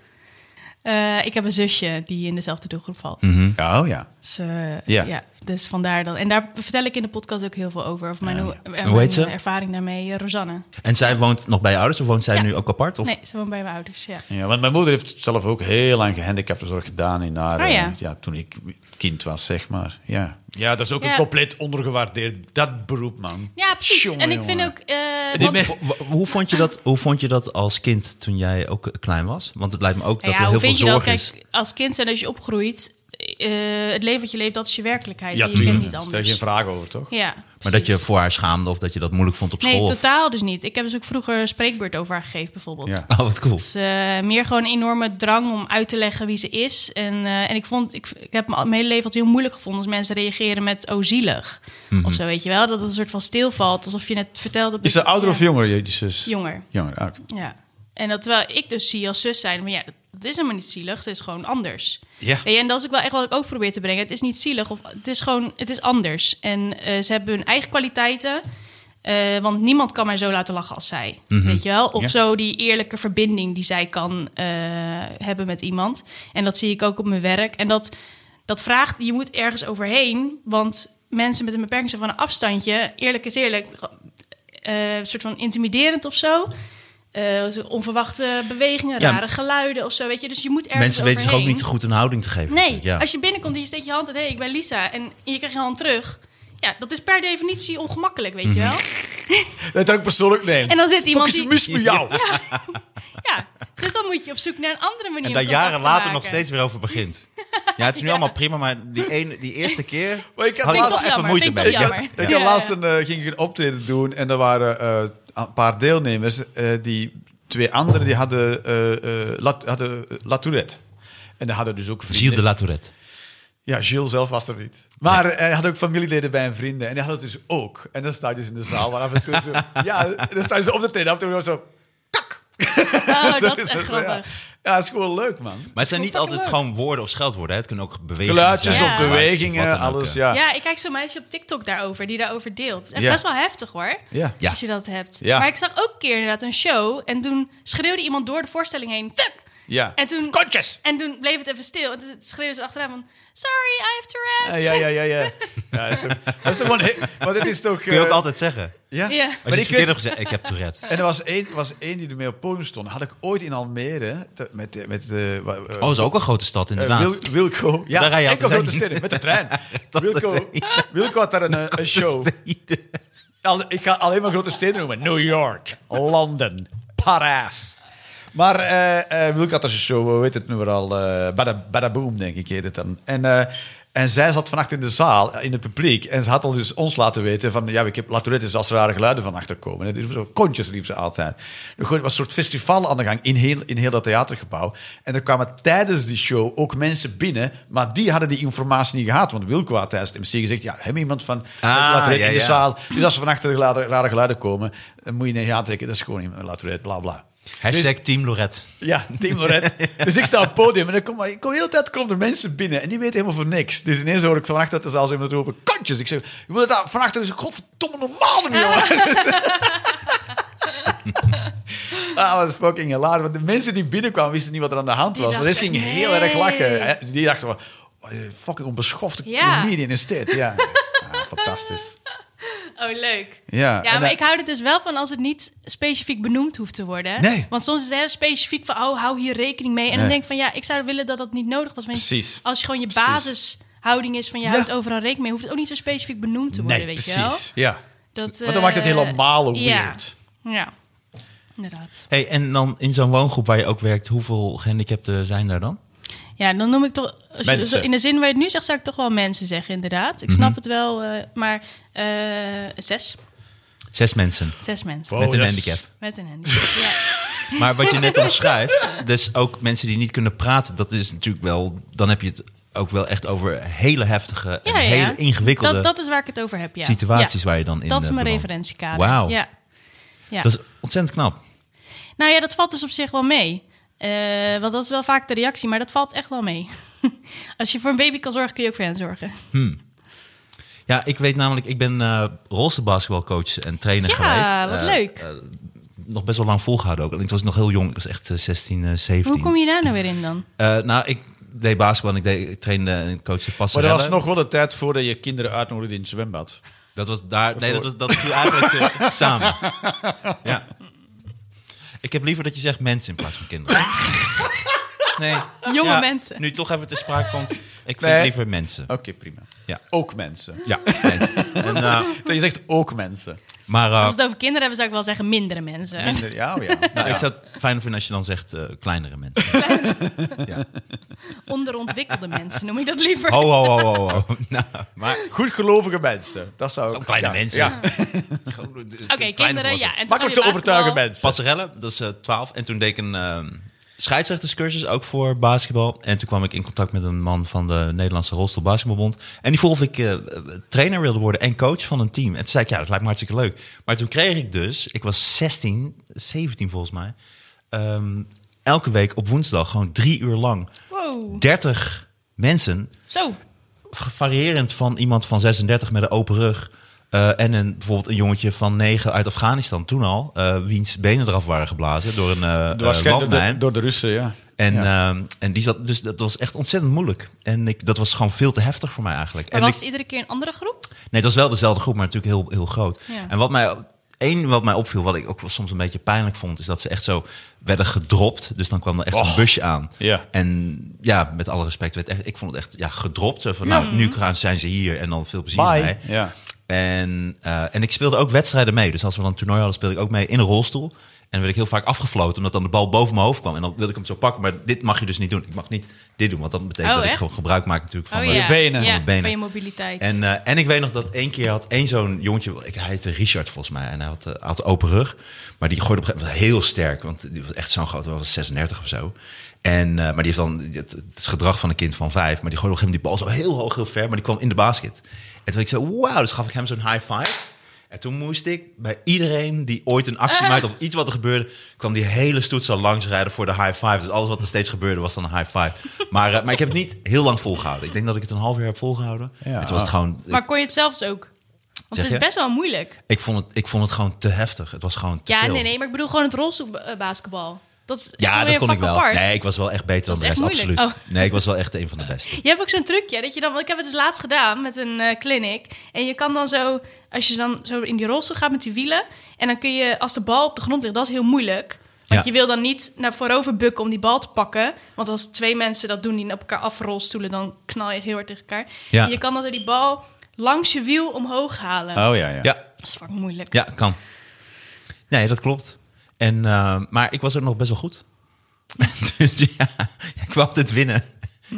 D: Eh, ik heb een zusje die in dezelfde doelgroep valt.
B: Mhm.
C: Ja, oh ja.
D: Dus, eh,
C: Ja.
D: ja. dus vandaar dan. En daar vertel ik in de podcast ook heel veel over. Over mijn, hoe- eh,
B: Hoe
D: mijn
B: heet ze?
D: ervaring daarmee. Eh, Rosanne.
B: En zij woont nog bij je ouders of woont zij
D: Ja.
B: nu ook apart? Of?
D: Nee, ze woont bij mijn ouders, ja.
C: Ja, want mijn moeder heeft zelf ook heel lang gehandicaptenzorg gedaan in haar.
D: Oh ja.
C: eh, ja, toen ik kind was, zeg maar. Ja, ja dat is ook
D: Ja.
C: een compleet ondergewaardeerd dat beroep, man.
D: Ja, precies.
C: Jongen,
D: en ik vind
C: jongen.
D: ook... eh,
B: Dit-
D: want-
B: vo- wa- hoe, vond je dat, hoe vond je dat als kind toen jij ook klein was? Want het lijkt me ook dat
D: Nou
B: er
D: ja,
B: heel
D: hoe
B: veel
D: vind je
B: zorg
D: dat?
B: is.
D: Kijk, als kind zijn als je opgroeit... eh, het leven dat je leeft, dat is je werkelijkheid.
C: Ja,
D: Die je kent
C: tuurlijk.
D: niet
C: Daar
D: anders.
C: Stel je geen vraag over, toch?
D: Ja,
B: Maar dat je
D: precies.
B: voor haar schaamde of dat je dat moeilijk vond op
D: Nee,
B: school?
D: totaal dus niet. Ik heb dus ook vroeger een spreekbeurt over haar gegeven, bijvoorbeeld.
C: Ja.
B: *laughs* Oh, wat cool.
D: Dus, eh, meer gewoon een enorme drang om uit te leggen wie ze is. En, eh, en ik, vond, ik, ik heb mijn hele leven altijd heel moeilijk gevonden als mensen reageren met oh zielig. Of zo, weet je wel. Dat het een soort van stilvalt, alsof je net vertelde...
C: Mhm. Is ze ouder
D: Ja,
C: of jonger, je die zus?
D: Jonger,
C: Jonger, ah, oké.
D: ja. En dat terwijl ik dus zie als zus zijn, maar ja, dat, dat is helemaal niet zielig. Het is gewoon anders.
C: Ja.
D: Weet je, en dat is ook wel echt wat ik ook probeer te brengen. Het is niet zielig, of het is gewoon, het is anders. En eh, ze hebben hun eigen kwaliteiten. eh, want niemand kan mij zo laten lachen als zij. Weet je wel? Of
C: Mhm. Ja.
D: zo die eerlijke verbinding die zij kan eh, hebben met iemand. En dat zie ik ook op mijn werk. En dat, dat vraagt, je moet ergens overheen. Want mensen met een beperking zijn van een afstandje. Eerlijk is eerlijk. eh, een soort van intimiderend of zo. Eh, onverwachte bewegingen,
B: Ja.
D: rare geluiden of zo. Weet je? Dus je moet ergens
B: Mensen weten zich ook
D: overheen.
B: niet goed een houding te geven.
D: Nee,
B: natuurlijk, ja.
D: als je binnenkomt en je steekt je hand uit... hé, hey, ik ben Lisa, en je krijgt je hand terug... Ja, dat is per definitie ongemakkelijk, weet
B: Mhm.
D: je wel?
C: Dat kan ik persoonlijk nemen.
D: En dan zit iemand
C: Focus
D: die...
C: mis met jou.
D: Ja, dus dan moet je op zoek naar een andere manier
B: En
D: om
B: daar
D: contact
B: jaren
D: te
B: later
D: maken.
B: nog steeds weer over begint. Ja, het is nu allemaal prima, maar die, ene, die eerste keer
C: *laughs* Maar ik had
B: had ik
C: laatst-
B: wel
D: Vind ik
B: even
D: toch
B: moeite
D: jammer,
B: mee.
D: vind ik toch jammer.
C: Ik had
D: Ja, ja.
C: laatst een, eh, ging ik een optreden doen en er waren eh, een paar deelnemers. eh, die twee anderen die hadden, eh eh La, hadden eh, La Tourette. En die hadden dus ook vrienden.
B: Gilles de La Tourette.
C: Ja, Gilles zelf was er niet. Maar eh, hij had ook familieleden bij en vrienden. En die hadden het dus ook. En dan sta je dus in de zaal. Maar af en toe zo, *laughs* ja, dan sta je zo op de treden. Af en toe zo...
B: *laughs*
D: Oh, dat is
C: zo-
D: echt
C: zo, *laughs* ja.
D: grappig.
C: ja, is gewoon leuk, man.
B: Maar het zijn niet altijd
C: leuk.
B: gewoon woorden of scheldwoorden. Hè? Het kunnen ook bewegingen zijn,
C: Geluidjes
D: Ja.
C: of
B: geluidjes wat
C: bewegingen,
B: dan ook,
C: alles,
B: eh.
C: ja.
D: Ja, ik kijk zo'n meisje op TikTok daarover, die daarover deelt. Het is echt
C: Ja.
D: best wel heftig hoor,
C: Ja.
B: Ja.
D: als je dat hebt.
C: Ja.
D: Maar ik zag ook een keer inderdaad een show en toen schreeuwde iemand door de voorstelling heen... Fuck!
C: Ja.
D: En toen,
C: Kontjes!
D: en toen bleef het even stil. En toen schreeuwde ze achteraan van... Sorry, I have
C: Ja,
D: Tourette's.
C: ja, ja, ja. ja. ja dat is toch, dat is toch wel een- maar dit is toch...
B: Kun je ook
C: eh,
B: altijd zeggen.
C: Ja.
D: Ja.
B: Als
C: Maar
B: je
C: ik Eh,
B: het verkeerd
C: weet-
B: hebt gezegd, ik heb Tourette.
C: en er was één, was één die ermee op het podium stond. Had ik ooit in Almere, te- met, eh, met eh, wa- eh,
B: Oh, dat is ook een grote stad
C: eh,
B: inderdaad. *laughs*
C: Wil- Wilco. Ja,
B: Daar rij je
C: ik
B: altijd
C: had grote
B: heen.
C: steden, met de trein.
B: *laughs* Dat
C: Wilco, Wilco had daar
B: *laughs*
C: een, eh, een show. Al- ik ga alleen maar grote steden noemen. New York, Londen, Parijs. Maar eh eh Wilco had daar een show, hoe heet het nu weer al? eh Bada, Bada Boom, denk ik, heet het dan. En, eh, en zij zat vannacht in de zaal, eh, in het publiek. En ze had al dus ons laten weten van... Ja, ik heb laten weten als er rare geluiden van achter komen. En die riep zo, kontjes riep ze altijd. Er was een soort festival aan de gang in heel, in heel dat theatergebouw. En er kwamen tijdens die show ook mensen binnen. Maar die hadden die informatie niet gehad. Want Wilco had tijdens het MC gezegd... Ja, hem iemand van
B: Ah,
C: laten weten
B: ja,
C: in de
B: ja.
C: zaal zaal. Dus als er van achter rare, rare geluiden komen, dan moet je niet aantrekken. Dat is gewoon niet laten we het, bla bla.
B: Hashtag
C: Dus-
B: Team Lorette.
C: ja, Team Lorette.
D: *laughs*
C: dus ik sta op het podium en dan kom, ik kom de hele tijd komen er mensen binnen en die weten helemaal van niks. Dus ineens hoor ik van achter de zaal zo iemand roepen, kantjes. Ik zeg, je moet dat van achter, godverdomme normaal doen,
D: *laughs*
C: jongen. Ah, dat was fucking hilarisch. Want de mensen die binnenkwamen wisten niet wat er aan de hand
D: Die
C: was. Maar deze
D: dachten,
C: gingen heel erg lachen.
D: nee.
C: hè. Die dachten van, wat een fucking onbeschofte
D: Ja.
C: comedian is dit. Ja, ah, fantastisch.
D: *laughs* Oh, leuk.
C: Ja,
D: ja
C: en,
D: maar
C: eh,
D: ik hou er dus wel van als het niet specifiek benoemd hoeft te worden.
C: Nee.
D: Want soms is het heel specifiek van, oh, hou hier rekening mee. En dan
C: Nee.
D: denk ik van, ja, ik zou willen dat dat niet nodig was. Maar
C: Precies.
D: Als je gewoon je
C: Precies.
D: basishouding is van, je
C: Ja.
D: houdt overal rekening mee, hoeft het ook niet zo specifiek benoemd te worden, weet je wel.
C: Ja.
D: Dat,
C: Want dan maakt het
D: eh,
C: helemaal
D: ja.
C: weird.
D: Ja, inderdaad.
B: Hey, en dan in zo'n woongroep waar je ook werkt, hoeveel gehandicapten zijn daar dan?
D: Ja, dan noem ik toch... Als je,
C: Mensen.
D: zo- in de zin waar je het nu zegt, zou ik toch wel mensen zeggen, inderdaad.
B: Mhm.
D: Ik snap het wel, eh, maar eh, zes.
B: Zes mensen
D: Zes mensen.
C: Wow. Oh,
B: met een
C: dat is-
B: handicap.
D: Met een
B: *laughs*
D: handicap, ja.
B: Maar wat je
D: *laughs*
B: net omschrijft, dus ook mensen die niet kunnen praten, dat is natuurlijk wel, dan heb je het ook wel echt over hele heftige en
D: Ja, ja.
B: hele ingewikkelde
D: Dat, dat is waar ik het over heb, ja.
B: situaties
D: Ja.
B: waar je dan in
D: Dat is
B: eh,
D: mijn
B: belandt.
D: referentiekader.
B: Wauw,
D: Ja. Ja.
B: dat is ontzettend knap.
D: Nou ja, dat valt dus op zich wel mee. Eh, want dat is wel vaak de reactie, maar dat valt echt wel mee. *laughs* Als je voor een baby kan zorgen, kun je ook voor hen zorgen.
B: Ja, ik weet namelijk, ik ben eh rolstoelbasketbalcoach en trainer
D: Ja,
B: geweest.
D: wat
B: Eh,
D: leuk.
B: eh, nog best wel lang volgehouden ook. En ik was nog heel jong, ik was echt eh, 16, eh, 17.
D: Hoe kom je daar nou weer in dan?
B: Eh, nou, ik deed basketbal en ik, deed, ik trainde en coachte
C: Maar
B: passerellen.
C: dat was nog wel de tijd voordat je kinderen uitnodigde in het zwembad.
B: Dat was daar. Nee, dat was dat viel eigenlijk *laughs* eh, samen. Ja. Ik heb liever dat je zegt mensen in plaats van kinderen. Nee.
D: Jonge
B: Ja, Nou.
D: mensen.
B: Nu toch even te sprake komt. Ik vind
C: Nee.
B: liever mensen.
C: Oké, prima.
B: Ja.
C: Ook mensen.
B: Ja. nee. En, eh,
C: Dat je zegt ook mensen.
B: maar eh,
D: Als we het over kinderen hebben, zou ik wel zeggen mindere mensen.
C: Minder, ja, oh ja.
B: nou,
C: ja.
B: ik zou het fijn vinden als je dan zegt eh, kleinere mensen.
D: Onderontwikkelde mensen, noem je dat liever.
B: Ho, ho, ho, ho, ho. Nou, maar
C: Goed gelovige mensen. Dat zou ik...
B: Gewoon *laughs* kleine
C: ja,
B: mensen.
C: Ja.
B: *laughs*
D: Oké, kinderen, ja. En toen
C: Makkelijk
D: had
C: te
D: je
C: overtuigen
D: basketbal.
C: mensen.
B: Passerelle, dat is eh, 12. En toen deed ik een eh, scheidsrechterscursus, ook voor basketbal. En toen kwam ik in contact met een man van de Nederlandse Rolstoel Basketbalbond. En die vroeg of ik eh, trainer wilde worden en coach van een team. En toen zei ik, ja, dat lijkt me hartstikke leuk. Maar toen kreeg ik dus, ik was 16, 17 volgens mij... ehm, elke week op woensdag, gewoon drie uur lang,
D: Wow.
B: 30 mensen
D: Zo.
B: variërend van iemand van 36 met een open rug. eh, en een, bijvoorbeeld een jongetje van 9 uit Afghanistan toen al. eh, wiens benen eraf waren geblazen door een eh, eh
C: Waarschijnlijk door de,
B: landmijn.
C: door de Russen, ja.
B: En,
C: Ja.
B: ehm, en die zat, dus dat was echt ontzettend moeilijk. En ik, dat was gewoon veel te heftig voor mij eigenlijk.
D: Maar
B: en
D: was het
B: ik,
D: iedere keer een andere groep?
B: nee, het was wel dezelfde groep, maar natuurlijk heel, heel groot.
D: Ja.
B: En wat mij, één wat mij opviel, wat ik ook wel soms een beetje pijnlijk vond, is dat ze echt zo werden gedropt. Dus dan kwam er echt
C: Och.
B: een busje aan.
C: Ja.
B: En ja, met alle respect, werd echt, ik vond het echt ja, gedropt. Zo Van, Nou, nu gaan- zijn ze hier en dan veel plezier
C: Bye.
B: mee.
C: Ja.
B: En, eh, en ik speelde ook wedstrijden mee. Dus als we dan een toernooi hadden, speelde ik ook mee in een rolstoel. En dan werd ik heel vaak afgefloten, omdat dan de bal boven mijn hoofd kwam. En dan wilde ik hem zo pakken, maar dit mag je dus niet doen. Ik mag niet dit doen, want dat betekent
D: Oh,
B: dat
D: echt?
B: ik gewoon gebruik maak natuurlijk van
D: oh,
B: mijn
D: ja.
C: benen.
D: Ja,
B: Van de benen.
D: van je mobiliteit.
B: en, eh, en ik weet nog dat één keer had één zo'n jongetje, ik, hij heette Richard volgens mij, en hij had, eh, had open rug. Maar die gooide op een gegeven moment heel sterk, want die was echt zo'n groot, was 36 of zo. En, eh, maar die heeft dan het, het gedrag van een kind van vijf, maar die gooide op een gegeven moment die bal zo heel hoog, heel ver, maar die kwam in de basket. En toen ik zo, wauw, dus gaf ik hem zo'n high five. En toen moest ik bij iedereen die ooit een actie maakte of iets wat er gebeurde, kwam die hele stoet zo langs rijden voor de high five. Dus alles wat er steeds gebeurde was dan een high five. Maar, eh, maar ik heb het niet heel lang volgehouden. Ik denk dat ik het een half jaar heb volgehouden.
C: Ja.
B: En toen was het gewoon,
D: maar kon je het zelfs ook? Want
B: Zeg
D: het is
B: je?
D: best wel moeilijk.
B: ik, vond het, ik vond het gewoon te heftig. Het was gewoon te
D: Ja,
B: veel.
D: nee, nee, maar ik bedoel gewoon het rolstoelbasketbal. Dat is
B: Ja,
D: gewoon
B: dat
D: weer
B: kon
D: een
B: ik
D: vak
B: wel.
D: apart.
B: Nee, ik was wel echt beter dan
D: Dat
B: de
D: is
B: rest,
D: echt
B: absoluut.
D: moeilijk.
B: Nee, ik was wel echt een van de beste.
D: Je hebt ook zo'n trucje dat je dan, want ik heb het dus laatst gedaan met een eh, clinic. En je kan dan zo, als je dan zo in die rolstoel gaat met die wielen. En dan kun je, als de bal op de grond ligt, dat is heel moeilijk. Want
B: Ja.
D: je wil dan niet naar voorover bukken om die bal te pakken. Want als twee mensen dat doen, die op elkaar afrolstoelen, dan knal je heel hard tegen elkaar.
B: Ja.
D: En je kan dan door die bal langs je wiel omhoog halen.
C: Oh ja, ja.
B: Ja,
D: Dat is fucking moeilijk.
B: ja, kan. Nee, dat klopt. En, eh, maar ik was ook nog best wel goed. *laughs* dus ja, ik wou altijd winnen.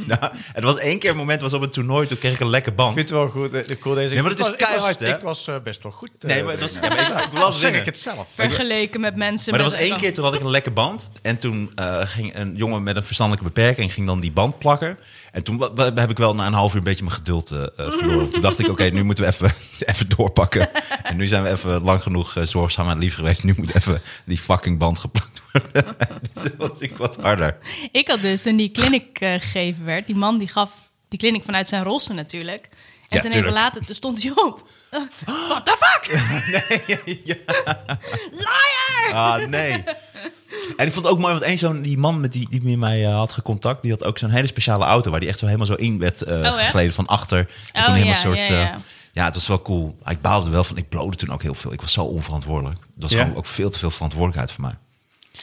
B: Nou, het was één keer een moment, was op een toernooi, toen kreeg ik een lekker
C: Ik
B: band.
C: vind het wel goed. eh, De cool deze.
B: Nee, maar het is
C: Ik was- ik was-
B: keihard, hè?
C: Ik was eh, best wel goed. eh,
B: Nee, maar het was,
C: daarin.
B: ja, maar *laughs* ik, ik las
C: Dan zeg
B: winnen.
C: ik het zelf.
D: Vergeleken met mensen.
B: Maar er
D: met
B: was één keer, toen had ik een lekke band. En toen eh, ging een jongen met een verstandelijke beperking ging dan die band plakken. En toen wa- wa- heb ik wel na een half uur een beetje mijn geduld eh, eh, verloren. Toen dacht ik, oké, nu moeten we even, *laughs* even doorpakken. En nu zijn we even lang genoeg eh, zorgzaam en lief geweest. Nu moet even die fucking band geplakt worden. *laughs* dus dat was ik wat harder.
D: Ik had dus toen die clinic eh, gegeven werd, die man die gaf die clinic vanuit zijn rolstoel natuurlijk. En
B: Ja,
D: toen
B: tuurlijk.
D: even later toen stond hij op. Eh, What the fuck? Liar!
B: Ah, nee. En ik vond het ook mooi, want één zo'n die man met die, die met mij eh, had gecontact, die had ook zo'n hele speciale auto waar die echt zo helemaal zo in werd eh
D: Oh, echt?
B: gegleden van achter. En
D: Oh,
B: kon helemaal
D: ja,
B: soort,
D: ja,
B: eh,
D: ja.
B: ja, het was wel cool. Ik baalde er wel van, ik blode toen ook heel veel. Ik was zo onverantwoordelijk. Dat was
C: Ja?
B: gewoon ook veel te veel verantwoordelijkheid voor mij.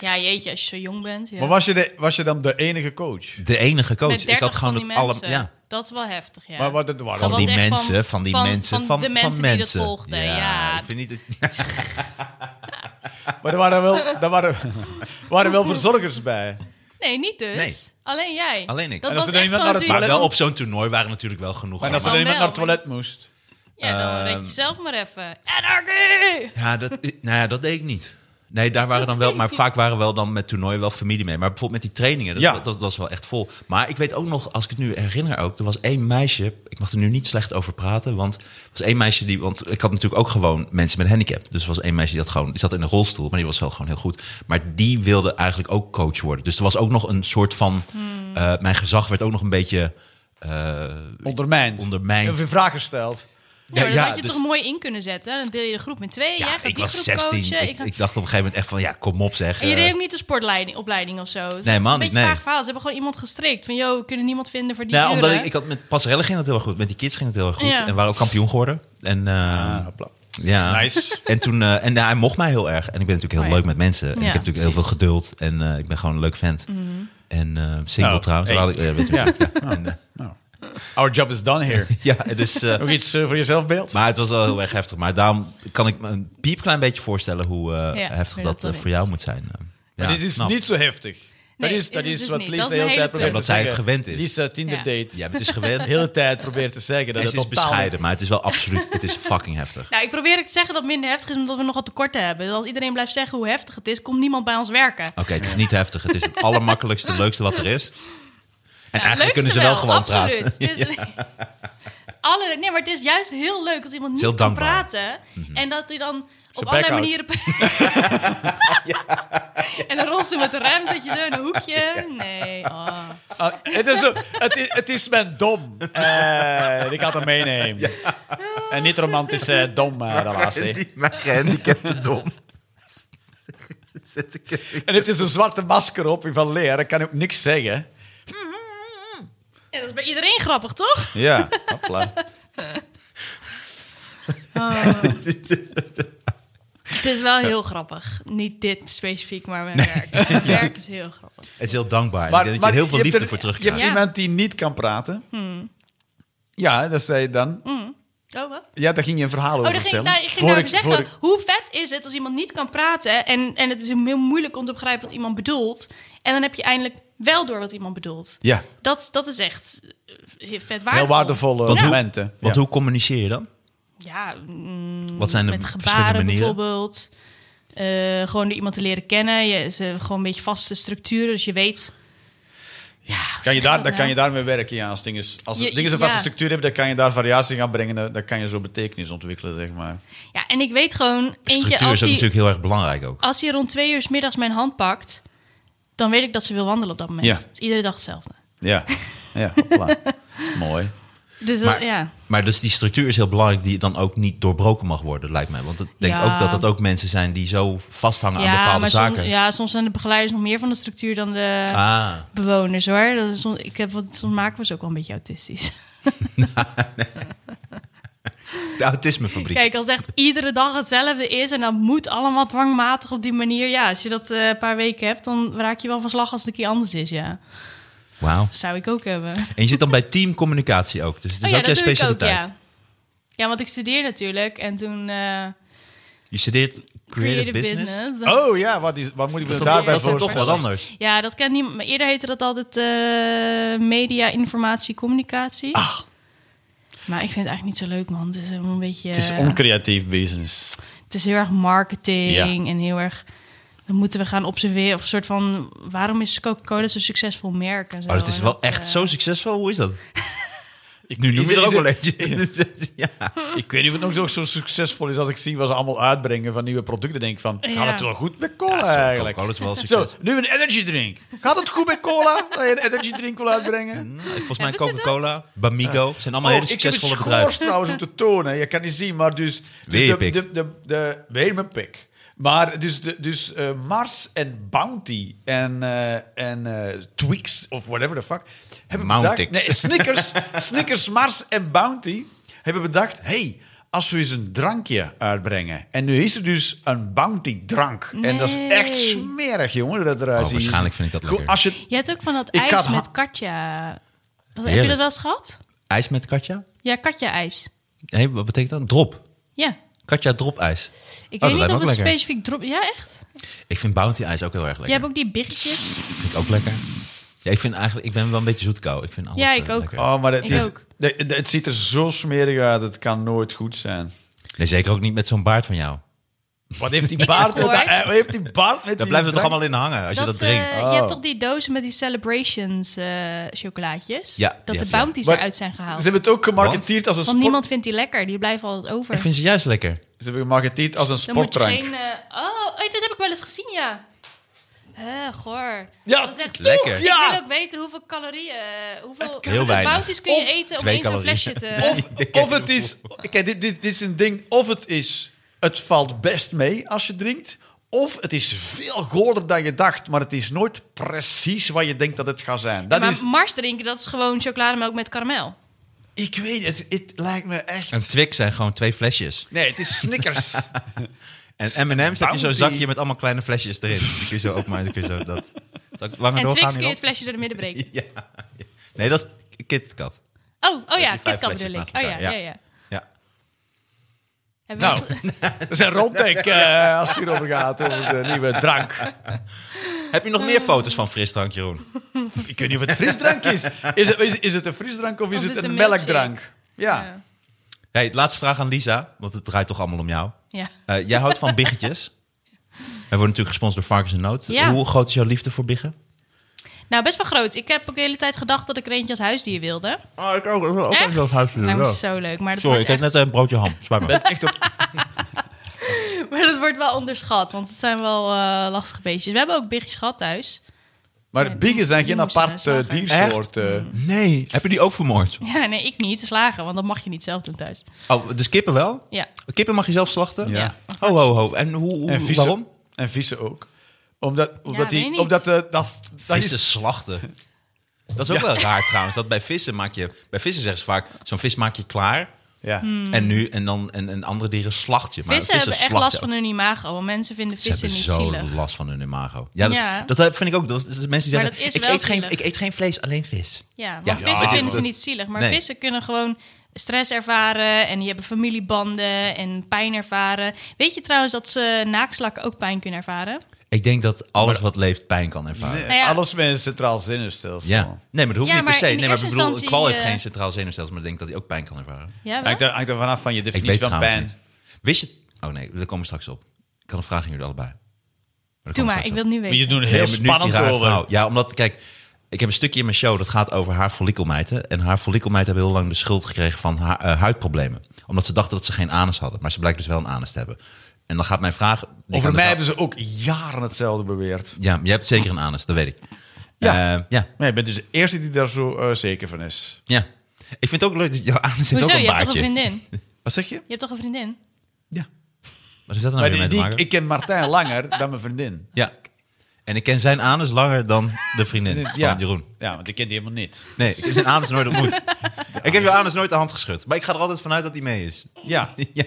D: Ja, jeetje, als je zo jong bent. Ja.
C: Maar was je, de, was je dan de enige coach?
B: De enige coach.
D: Met 30
B: ik had gewoon
D: van die
B: het alle,
D: mensen.
B: ja.
D: Dat is wel heftig, ja.
C: Maar wat, het waren
B: Van
D: was
B: die
D: echt van-
B: mensen, van die
D: van-
B: mensen,
D: van
B: van,
D: de mensen die dat volgden, ja.
B: Ik vind niet dat-
C: Maar er waren wel, er waren, waren
D: *laughs*
C: wel verzorgers bij.
D: Nee, niet dus.
B: Nee.
D: Alleen jij.
B: Alleen ik.
D: Dat
B: En
C: als
D: was
C: er dan
D: echt
C: iemand
D: gewoon
C: naar het
B: maar
D: zoiets-
B: wel op zo'n toernooi waren natuurlijk wel genoeg.
C: En als er
D: dan
C: dan iemand
D: wel,
C: naar het toilet moest.
D: Ja, dan red je zelf maar even. Anarchy!
B: Ehm. Ja, dat, nou ja, dat deed ik niet. Nee, daar waren
D: Dat
B: dan wel,
D: weet
B: maar
D: ik
B: vaak waren wel dan met toernooien wel familie mee. Maar bijvoorbeeld met die trainingen, dat,
C: Ja.
B: dat, dat was wel echt vol. Maar ik weet ook nog, als ik het nu herinner ook, er was één meisje, ik mag er nu niet slecht over praten, want er was één meisje die, want ik had natuurlijk ook gewoon mensen met een handicap. Dus er was één meisje die had gewoon, die zat in een rolstoel, maar die was wel gewoon heel goed. Maar die wilde eigenlijk ook coach worden. Dus er was ook nog een soort van,
D: Hmm.
B: eh, mijn gezag werd ook nog een beetje eh,
C: Ondermijnd.
B: ondermijnd.
C: Of in vraag gesteld.
D: Ja, maar dat
B: ja,
D: Nou, had je
B: dus-
D: toch mooi in kunnen zetten. Dan deel je de groep met twee. jij gaat
B: ik
D: die
B: was
D: groep
B: 16.
D: coachen.
B: Ik,
D: ik ga-
B: ik dacht op een gegeven moment echt van, ja, kom op zeg.
D: En je
B: eh.
D: deed ook niet een sportopleiding of zo. Het is
B: Nee,
D: echt
B: man,
D: Een beetje
B: nee.
D: vaag verhaal. Ze hebben gewoon iemand gestrikt. Van, joh, we kunnen niemand vinden voor die
B: Nou,
D: uren.
B: omdat ik, ik had met Passerelle ging het heel erg goed. Met die kids ging het heel erg goed.
D: Ja.
B: En we waren ook kampioen geworden. En, eh,
C: Ah,
B: ja. *laughs*
C: Nice.
B: En, toen, eh, en hij mocht mij heel erg. En ik ben natuurlijk heel
D: Oh ja. Mhm.
B: leuk met mensen. En
D: Ja,
B: ik heb natuurlijk heel veel geduld. En eh, ik ben gewoon een leuk vent. En eh single
C: Oh,
B: trouwens.
C: hey.
B: Laat ik- ja, weet je wel.
C: Ja.
B: Ja, en, eh,
C: *laughs*
B: *laughs*
C: Our job is done here.
B: ja, dus... eh,
C: *laughs* Nog iets eh, voor jezelf beeld?
B: maar het was wel heel erg heftig. Maar daarom kan ik me een piepklein beetje voorstellen hoe eh,
D: Ja,
B: heftig
D: hoe
B: dat,
D: dat dan
B: eh, voor
D: is.
B: jou moet zijn. Eh,
C: maar
B: ja,
C: dit is
B: snap.
C: niet zo heftig. dat
D: Nee,
C: is, dat
D: is
C: is
D: het
C: wat
D: dus
C: Lisa
D: niet.
C: de hele
D: Dat is een hele
C: tijd probeert te
B: punt. Ja, omdat zij het
C: zeggen.
B: gewend is.
C: Lisa Tinder
D: Ja.
C: date.
B: Ja, het is gewend.
C: *laughs* De hele tijd probeert te zeggen dat
B: het
C: het,
B: is
C: totaal-
B: bescheiden, maar het is wel absoluut... Het is fucking heftig.
D: Nou, ik probeer het te zeggen dat het minder heftig is, omdat we nogal tekorten hebben. Dus als iedereen blijft zeggen hoe heftig het is, komt niemand bij ons werken. Nou,
B: Oké, het is niet heftig. Het is het
D: *laughs*
B: allermakkelijkste, leukste wat er is. En
D: Ja,
B: eigenlijk kunnen ze
D: leukste
B: wel, gewoon
D: absoluut.
B: praten.
D: *laughs* Het
B: *laughs*
D: is- alle, nee, maar het is juist heel leuk als iemand niet
B: heel
D: kan
B: dankbaar. Mhm.
D: praten. En dat hij dan op
C: bek
D: allerlei
C: houdt.
B: *laughs*
D: manieren... *laughs* En dan rolt ze met de rem, zet je zo in een hoekje. Nee, oh.
C: Ah, het, is zo, het, is, het is mijn dom. Eh, ik had hem
B: *laughs*
C: meenemen. En niet relatie. eh dom eh, relatie.
B: Mijn gehandicapte dom. Zit ik
C: En heeft hij zo'n zwarte masker op van leer. Ik kan ook niks zeggen.
D: Ja, dat is bij iedereen grappig, toch?
C: Ja, hopla.
D: Het is wel heel grappig. Niet dit specifiek, maar mijn
B: *laughs*
D: werk. Mijn werk is heel grappig.
B: Het is heel dankbaar. Maar, ik denk dat je er heel veel
C: hebt
B: liefde
C: er-
B: voor
C: Je
B: terugkrijgt.
C: hebt
D: Ja. Hmm.
C: iemand die niet kan praten. Ja, dat zei je dan.
D: Oh, wat?
C: Ja, daar ging je een verhaal
D: Oh,
C: over
D: daar ging,
C: vertellen.
D: nou, ik ging
C: Voor
D: daarover
C: ik-
D: zeggen,
C: voor ik-
D: hoe vet is het als iemand niet kan praten... En, en het is heel moeilijk om te begrijpen wat iemand bedoelt... en dan heb je eindelijk wel door wat iemand bedoelt.
C: Ja,
D: Dat, dat is echt eh, vet waardevol.
C: heel waardevolle
B: Want, hoe,
C: momenten.
B: want
C: Ja.
B: hoe communiceer je dan?
D: Ja, mm,
B: Wat zijn de
D: met
B: verschillende
D: gebaren
B: manieren?
D: bijvoorbeeld. Eh, gewoon door iemand te leren kennen. Je, ze, gewoon een beetje vaste structuren, dus je weet... Ja, hoe
C: Kan je
D: zeg
C: daar, dan
D: dat nou?
C: kan je daarmee werken, ja. Als dingen, als
D: Je-
C: dingen een vaste
D: ja.
C: structuur hebben, dan kan je daar variatie in gaan brengen. Dan dan kan je zo betekenis ontwikkelen, zeg maar.
D: Ja, en ik weet gewoon... Eentje,
B: Structuur
D: als
B: is ook
D: die,
B: natuurlijk heel erg belangrijk ook.
D: als hij rond twee uur 's middags mijn hand pakt, dan weet ik dat ze wil wandelen op dat moment.
C: Ja.
D: Dus iedere dag hetzelfde. *laughs*
C: Ja, ja hopla. Mooi.
D: Dus dat,
B: Maar,
D: ja.
B: maar dus die structuur is heel belangrijk, die dan ook niet doorbroken mag worden, lijkt mij. Want ik denk
D: Ja.
B: ook dat dat ook mensen zijn die zo vasthangen aan
D: Ja,
B: Nou, bepaalde
D: maar
B: zaken.
D: soms, ja, soms zijn de begeleiders nog meer van de structuur dan de
B: Ah,
D: bewoners hoor. Dat is soms, ik heb, wat- soms maken we ze ook wel een beetje autistisch.
B: de autismefabriek.
D: Kijk, als echt iedere dag hetzelfde is en dat moet allemaal dwangmatig op die manier. Ja, als je dat eh, een paar weken hebt, dan raak je wel van slag als het een keer anders is. Ja,
B: Wauw.
D: dat zou ik ook hebben.
B: En je zit dan bij teamcommunicatie ook. Dus het is
D: Oh ja,
B: ook jouw
D: dat doe ik ook,
B: specialiteit.
D: ja. Ja, want ik studeer natuurlijk en toen eh,
B: Je studeert creative,
D: creative
B: business.
D: business.
C: Oh ja, wat, is, wat moet
B: Dat
C: ik me
B: is dan,
C: daarbij
B: dat is dan
C: voor?
B: toch wat anders.
D: Ja, dat kan niemand. Maar eerder heette dat altijd eh, media, informatie, communicatie.
B: Ah.
C: Ah,
D: Maar ik vind het eigenlijk niet zo leuk, man. Het is helemaal een beetje.
C: Het is
D: eh,
C: oncreatief business.
D: het is heel erg marketing
C: Ja.
D: en heel erg. Dan moeten we gaan observeren. Of een soort van. Waarom is Coca-Cola zo'n succesvol merk? En zo.
B: Oh, dat is
D: En
B: wel
D: dat,
B: echt
D: eh,
B: zo succesvol. Hoe is dat? nu noem
C: is
B: je er
C: het-
B: ook wel
C: is
B: eentje. *laughs* ja.
C: Ik weet niet of het nog zo succesvol is als ik zie wat ze allemaal uitbrengen van nieuwe producten. denk ik van,
D: Ja.
C: gaat het wel goed bij
B: Ja,
C: cola
B: zo,
C: eigenlijk?
B: Coca-Cola is wel
C: Zo,
B: succes.
C: nu een energy drink. Gaat het goed bij cola? Dat je een energy drink wil uitbrengen?
B: Nou, Volgens mij
D: Hebben ze
B: Coca-Cola, Bamigo. zijn allemaal hele succesvolle
C: Oh, ik heb het schors
B: bedrijven.
C: trouwens om te tonen. Je kan niet zien, maar dus... dus
B: Weer je
C: de,
B: pik.
C: De, de, de- weer mijn pik. Maar dus, de, dus eh, Mars en Bounty en, eh, en eh, Twix of whatever the fuck... Hebben
B: Mountix.
C: bedacht, nee, Snickers, *laughs* Snickers, Mars en Bounty hebben bedacht... hey, als we eens een drankje uitbrengen. En nu is er dus een Bounty drank. En dat is echt
D: Nee.
C: smerig, jongen, dat eruit
B: Oh,
C: ziet.
B: waarschijnlijk vind ik dat
C: Gewoon
B: lekker.
C: Als je,
D: Je hebt ook van dat
C: Ik had
D: ijs
C: ha-
D: met Katja. Dat, heb je
B: Heerlijk.
D: dat wel eens gehad?
B: IJs met Katja?
D: Ja, Katja-ijs.
B: Hé, wat betekent dat? Drop.
D: Ja.
B: Katja dropijs.
D: Ik
B: Oh, dat
D: weet
B: lijkt
D: niet
B: me
D: of
B: ook
D: het
B: lekker.
D: specifiek drop. Ja, echt?
B: Ik vind Bounty ijs ook heel erg
D: Je
B: lekker.
D: hebt ook die biggetjes.
B: Vind ik ook lekker. Ja, ik vind eigenlijk, ik ben wel een beetje zoetkou. Ik vind alles
D: Ja, ik
B: eh,
D: ook.
B: lekker.
C: oh, maar het,
D: Ik
C: is,
D: ook.
C: de- de- het ziet er zo smerig uit. Het kan nooit goed zijn.
B: Nee, zeker ook niet met zo'n baard van jou.
C: Wat heeft die
D: Ik *laughs*
B: *laughs*
C: baard met,
D: hoor
C: dat-
D: het.
C: eh, heeft die baard met
B: Daar
C: die
B: blijft het toch
C: drank?
B: allemaal in hangen als je dat
D: ze-
B: drinkt.
D: eh, Je hebt
C: Oh.
D: toch die dozen met die Celebrations eh, chocolaatjes?
B: Ja,
D: Dat
B: ja,
D: de
B: ja.
D: bounties
C: Maar
D: eruit zijn gehaald.
C: Ze hebben het ook gemarketeerd als een
D: Want
C: sport...
D: niemand vindt die lekker. Die blijven altijd over.
B: Ik vind ze juist lekker.
C: Ze hebben gemarketeerd als een
D: Dan moet je
C: sportdrank.
D: geen... eh, oh, oh, dat heb ik wel eens gezien, ja. Eh, goor.
C: Ja,
D: dat is echt
B: lekker.
D: Ik
C: Ja.
D: wil ook weten hoeveel calorieën... eh, Hoeveel,
B: Heel weinig.
D: bounties kun je
C: Of
D: eten om
B: twee
D: eens een
B: calorieën.
D: flesje te...
C: Of, of het is... Kijk, dit, dit, dit is een ding. Of het is... Het valt best mee als je drinkt. Of het is veel goorder dan je dacht. Maar het is nooit precies wat je denkt dat het gaat zijn. Dat
D: maar
C: is...
D: Mars drinken, dat is gewoon chocolademelk met karamel.
C: Ik weet het. Het lijkt me echt...
B: En Twix zijn gewoon twee flesjes.
C: Nee, het is *laughs* Snickers.
B: En M&M's heb je zo'n
C: Bounty.
B: zakje met allemaal kleine flesjes erin. Die kun je zo openmaken. die kun je zo dat. Zal ik langer
D: En
B: doorgaan
D: Twix kun je het
B: hierop?
D: flesje door de midden breken.
B: *laughs* Ja. Nee, dat is KitKat.
D: Oh, oh ja,
B: die vijf
D: KitKat
B: flesjes
D: bedoel ik.
B: naast
D: Oh ja,
B: elkaar, ja.
D: ja, ja.
B: Ja.
D: Hebben we
C: Nou, dat is een
B: *laughs*
C: rondtek eh, als het hierover gaat, over de nieuwe drank.
B: Heb je nog meer foto's van frisdrank, Jeroen?
C: Ik weet niet of het frisdrank is. Is het, is, is het een frisdrank of is
D: Of
C: het
D: is het
C: een
D: een
C: melkdrank? Ja.
D: Ja.
B: Hey, laatste vraag aan Lisa, want het draait toch allemaal om jou.
D: ja.
B: Eh, jij houdt van
D: *laughs*
B: biggetjes. Wij worden natuurlijk gesponsord door Varkens en Noot.
D: Ja.
B: Hoe groot is jouw liefde voor biggen?
D: Nou, best wel groot. Ik heb ook de hele tijd gedacht dat ik er eentje als huisdier wilde.
B: Oh, ik ook. ook
D: echt? nou, dat is zo leuk. Maar dat,
B: Sorry, ik heb
D: wordt echt-
B: net een broodje ham. *laughs* Zwaar maar.
C: Echt op,
D: *laughs* maar dat wordt wel onderschat, want het zijn wel eh, lastige beestjes. We hebben ook biggetjes gehad thuis.
C: maar biegen zijn
D: die
C: geen
D: moesten
C: apart eh,
D: slagen.
C: diersoort. eh.
B: Nee. Heb je die ook vermoord?
D: *laughs* Ja, nee, ik niet. Slagen, want dat mag je niet zelf doen thuis.
B: Oh, dus kippen wel?
D: Ja.
B: Kippen mag je zelf slachten?
C: Ja.
B: Ho, ho, ho. En hoe, hoe-
C: En vissen,
B: waarom?
C: En vissen ook. Omdat, omdat
D: weet
C: die...
D: niet.
C: Omdat, eh, dat, dat
B: Vissen
C: Is,
B: slachten. Dat is ook wel raar trouwens. Dat bij vissen maak je... Bij vissen zeggen ze vaak, zo'n vis maak je klaar.
C: ja.
D: Hmm.
B: En nu en dan en, en andere dieren slacht je. Maar
D: Vissen hebben echt
B: slachten
D: last
B: ook.
D: van hun imago, want mensen vinden
B: Ze
D: vissen
B: hebben
D: niet
B: zo
D: zielig.
B: last van hun imago. Ja, dat,
D: Ja.
B: dat heb- vind ik ook. Dat, dat de mensen die
D: Maar
B: zeggen,
D: dat is
B: ik,
D: wel
B: eet geen,
D: zielig.
B: ik eet geen vlees, alleen vis.
D: Ja,
B: Ja,
D: want vissen
B: ja,
D: vinden ze
B: dat-
D: niet zielig. Maar
B: nee.
D: vissen kunnen gewoon stress ervaren en die hebben familiebanden en pijn ervaren. Weet je trouwens dat ze naakslakken ook pijn kunnen ervaren?
B: Ik denk dat alles wat leeft pijn kan ervaren.
C: Eh,
D: Nou ja.
C: Alles met een centraal zenuwstelsel.
B: Ja. Nee, maar dat hoeft niet
D: Ja,
B: per
D: maar
B: se.
D: in
B: Nee, maar ik
D: eerste
B: bedoel, een
D: instantie,
B: kwal heeft
D: eh,
B: geen centraal zenuwstelsel, maar ik denk dat hij ook pijn kan ervaren.
D: Ja, wel?
C: Hangt er, hangt er vanaf van je
B: Ik weet
C: definitie van
B: trouwens
C: pijn.
B: niet. Wist je... Oh nee, daar komen we straks op. Ik had een vraag aan jullie allebei. Maar daar
D: Doe
B: komen we
D: maar,
B: straks
D: ik
B: op.
D: wil het nu
C: Maar je
D: weten.
C: doet er
B: Nee,
C: heel
B: maar nu is die
C: spannend
B: rare
C: over.
B: vrouw. Ja, omdat, kijk, ik heb een stukje in mijn show dat gaat over haar follikelmeiden. En haar follikelmeiden hebben heel lang de schuld gekregen van haar, eh, huidproblemen. Omdat ze dachten dat ze geen anus hadden. Maar ze blijkt dus wel een anus te hebben. En dan gaat mijn vraag... die kan dus
C: Over mij
B: wel-
C: hebben ze ook jaren hetzelfde beweerd.
B: Ja, maar je hebt zeker een anus, dat weet ik.
C: Ja.
B: Eh, ja,
C: Maar je bent dus de eerste die daar zo eh, zeker van is.
B: ja. Ik vind het ook leuk dat jouw anus heeft
D: Hoezo?
B: ook een
D: Je hebt toch een
B: baardje.
D: vriendin? Je
C: Wat zeg je?
D: hebt toch een vriendin?
B: Ja. Wat heeft dat nou
C: Maar
B: weer
C: die,
B: mee te
C: die-
B: maken?
C: ik ken Martijn langer dan mijn vriendin.
B: Ja. En ik ken zijn anus langer dan de vriendin
C: *laughs* Ja.
B: van Oh, Jeroen.
C: Ja, want ik ken die helemaal niet.
B: Nee, ik heb zijn anus nooit
C: *laughs*
B: ontmoet. ik heb jouw anus nooit de hand geschud. Maar ik ga er altijd vanuit dat hij mee is. *laughs*
C: Ja.
B: ja.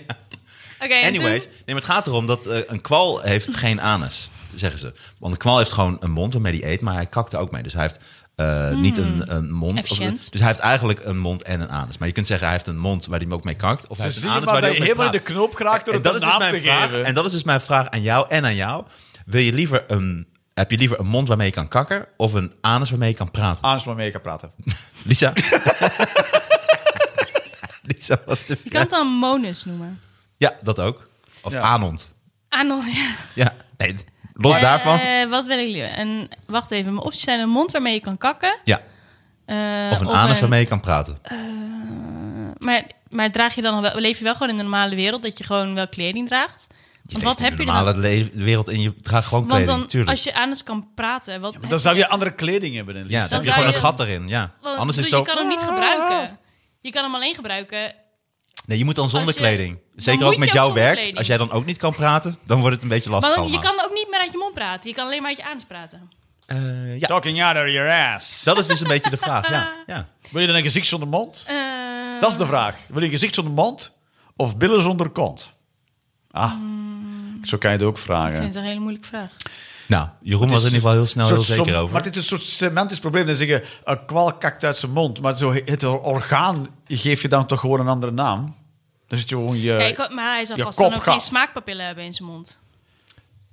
D: Oké, en
B: Anyways, nee, maar het gaat erom dat eh, een kwal heeft geen anus, zeggen ze. Want een kwal heeft gewoon een mond waarmee hij eet, maar hij kakt er ook mee. Dus hij heeft eh, niet een, een mond. Of-
D: Hmm. Efficiënt.
B: dus hij heeft eigenlijk een mond en een anus. Maar je kunt zeggen, hij heeft een mond waar hij ook mee kakt. Of hij
C: Ze
B: heeft een
C: zien
B: anus
C: maar
B: waar
C: dat
B: hij
C: je
B: ook mee
C: helemaal in
B: praat.
C: de knoop geraakt door
B: En
C: het
B: dat
C: een
B: is dus
C: naam
B: mijn
C: te
B: vraag.
C: geven.
B: En dat is dus mijn vraag aan jou en aan jou. Wil je liever een, heb je liever een mond waarmee je kan kakken of een anus waarmee je kan praten?
C: Anders maar mee kan praten. *laughs*
B: Lisa. *laughs* Lisa, wat doe
D: Je
B: je?
D: kan het dan monus noemen.
B: Ja, dat ook. Of
C: Ja.
B: anond.
D: Anal, *laughs* ja.
B: Ja, nee, los
D: Eh,
B: daarvan.
D: wat wil ik liever? En wacht even, mijn opties zijn een mond waarmee je kan kakken.
B: Ja,
D: eh,
B: of een anus waarmee je kan praten.
D: Maar, maar draag je dan wel, leef je wel gewoon in de normale wereld dat je gewoon wel kleding draagt? Want wat heb je dan?
B: normale le- wereld in je draagt gewoon
D: Want
B: kleding,
D: dan,
B: tuurlijk.
D: als je anus kan praten, wat heb
C: Dan zou je andere kleding hebben.
B: ja,
C: Elise.
B: dan,
D: dan
B: heb je
D: zou
B: gewoon
D: je-
B: een gat erin. Ja.
D: Want dus
B: Anders is
D: je
B: het zo...
D: kan hem niet gebruiken. Je kan hem alleen gebruiken.
B: Nee, je moet dan zonder
D: je-
B: kleding.
D: dan
B: Zeker
D: moet
B: ook met
D: je ook
B: jouw
D: zonder
B: werk.
D: kleding.
B: Als jij dan ook niet kan praten, dan wordt het een beetje lastig
D: Maar dan- je
B: allemaal.
D: kan ook niet meer uit je mond praten. Je kan alleen maar uit je anus praten.
B: Eh, ja,
C: Talking out of your ass.
B: dat is dus een beetje de vraag.
D: *laughs*
B: Ja, ja.
C: Wil je dan een gezicht zonder mond?
D: Eh,
C: Dat is de vraag. Wil je een gezicht zonder mond of billen zonder kont? Ah,
D: Hmm.
C: zo kan je het ook
D: Ik
C: vragen.
D: vind het een hele moeilijke vraag.
B: Nou, Jeroen was er in ieder geval heel snel
C: Een
B: heel
C: soort
B: zeker
C: som-
B: over.
C: Maar dit is een soort semantisch probleem. Dan zeggen, een kwal kakt uit zijn mond. Maar zo, het orgaan geef je dan toch gewoon een andere naam? Dan zit je gewoon je...
B: Eh,
D: Kijk, maar hij zal
C: je
D: vast dan ook
C: kopgat.
D: geen smaakpapillen hebben in zijn mond.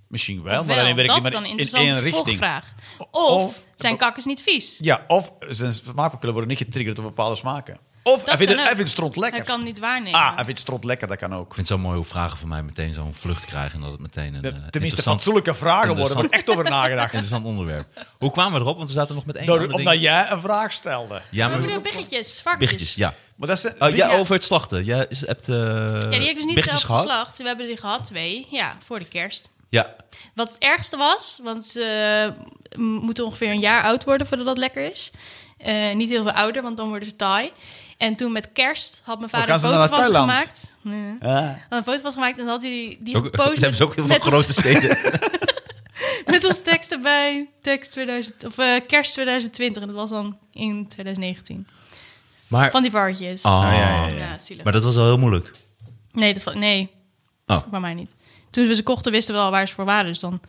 C: misschien wel,
D: Of
C: maar alleen werkt
D: dat
C: die
D: is
C: maar
D: dan een
C: in
D: interessante
C: één richting.
D: volgvraag. Of,
C: Of-
D: zijn kakkers niet vies?
C: Oh, Ja, of zijn smaakpapillen worden niet getriggerd op bepaalde smaken. Of hij
D: kan
C: vindt, het-
D: ook.
C: hij vindt stront lekker.
D: Hij kan niet waarnemen.
C: Ah, hij vindt stront lekker, dat kan ook.
B: Ik vind het zo mooi hoe vragen van mij meteen zo'n vlucht krijgen. En dat het meteen een eh,
C: Tenminste,
B: interessant,
C: fatsoenlijke vragen worden. Er wordt
B: interessant-
C: echt over
B: *laughs*
C: nagedacht.
B: interessant onderwerp. Hoe kwamen we erop? Want we zaten nog met één
C: Door-
B: ander ding.
C: omdat jij een vraag stelde.
B: Ja,
D: Wat
B: maar...
D: bedoel je, biggetjes, varkentjes?
B: Biggetjes, ja.
C: Maar dat is,
B: Oh, jij
D: Ja.
B: over het slachten. Jij is- hebt eh
D: Ja, die heb ik dus niet zelf
B: biggetjes gehad.
D: geslacht. We hebben die gehad, twee. Ja, voor de kerst.
B: Ja.
D: Wat het ergste was, want ze eh, m- moeten ongeveer een jaar oud worden voordat dat lekker is. Eh, niet heel veel ouder, want dan worden ze taai. En toen met kerst had
B: Oh,
D: mijn vader
C: gaan
D: een
C: ze dan
D: foto
C: naar
D: van ze
C: Thailand?
D: gemaakt. Nee.
C: Ah.
D: Had een foto van ze gemaakt en dan had hij die, die
B: Zo,
D: gepost.
B: ze hebben ze ook *laughs* heel veel
D: met
B: grote steden.
D: *laughs* Als, met als tekst erbij, tekst 2000, of eh, kerst 2020. En dat was dan in 2019.
B: Maar,
D: Van die varkentjes.
B: Eh, Ah.
D: ja,
B: Maar dat was wel heel moeilijk.
D: Nee, dat, va- nee.
B: Oh.
D: Bij mij niet. Toen we ze kochten, wisten we al waar ze voor waren. Dus dan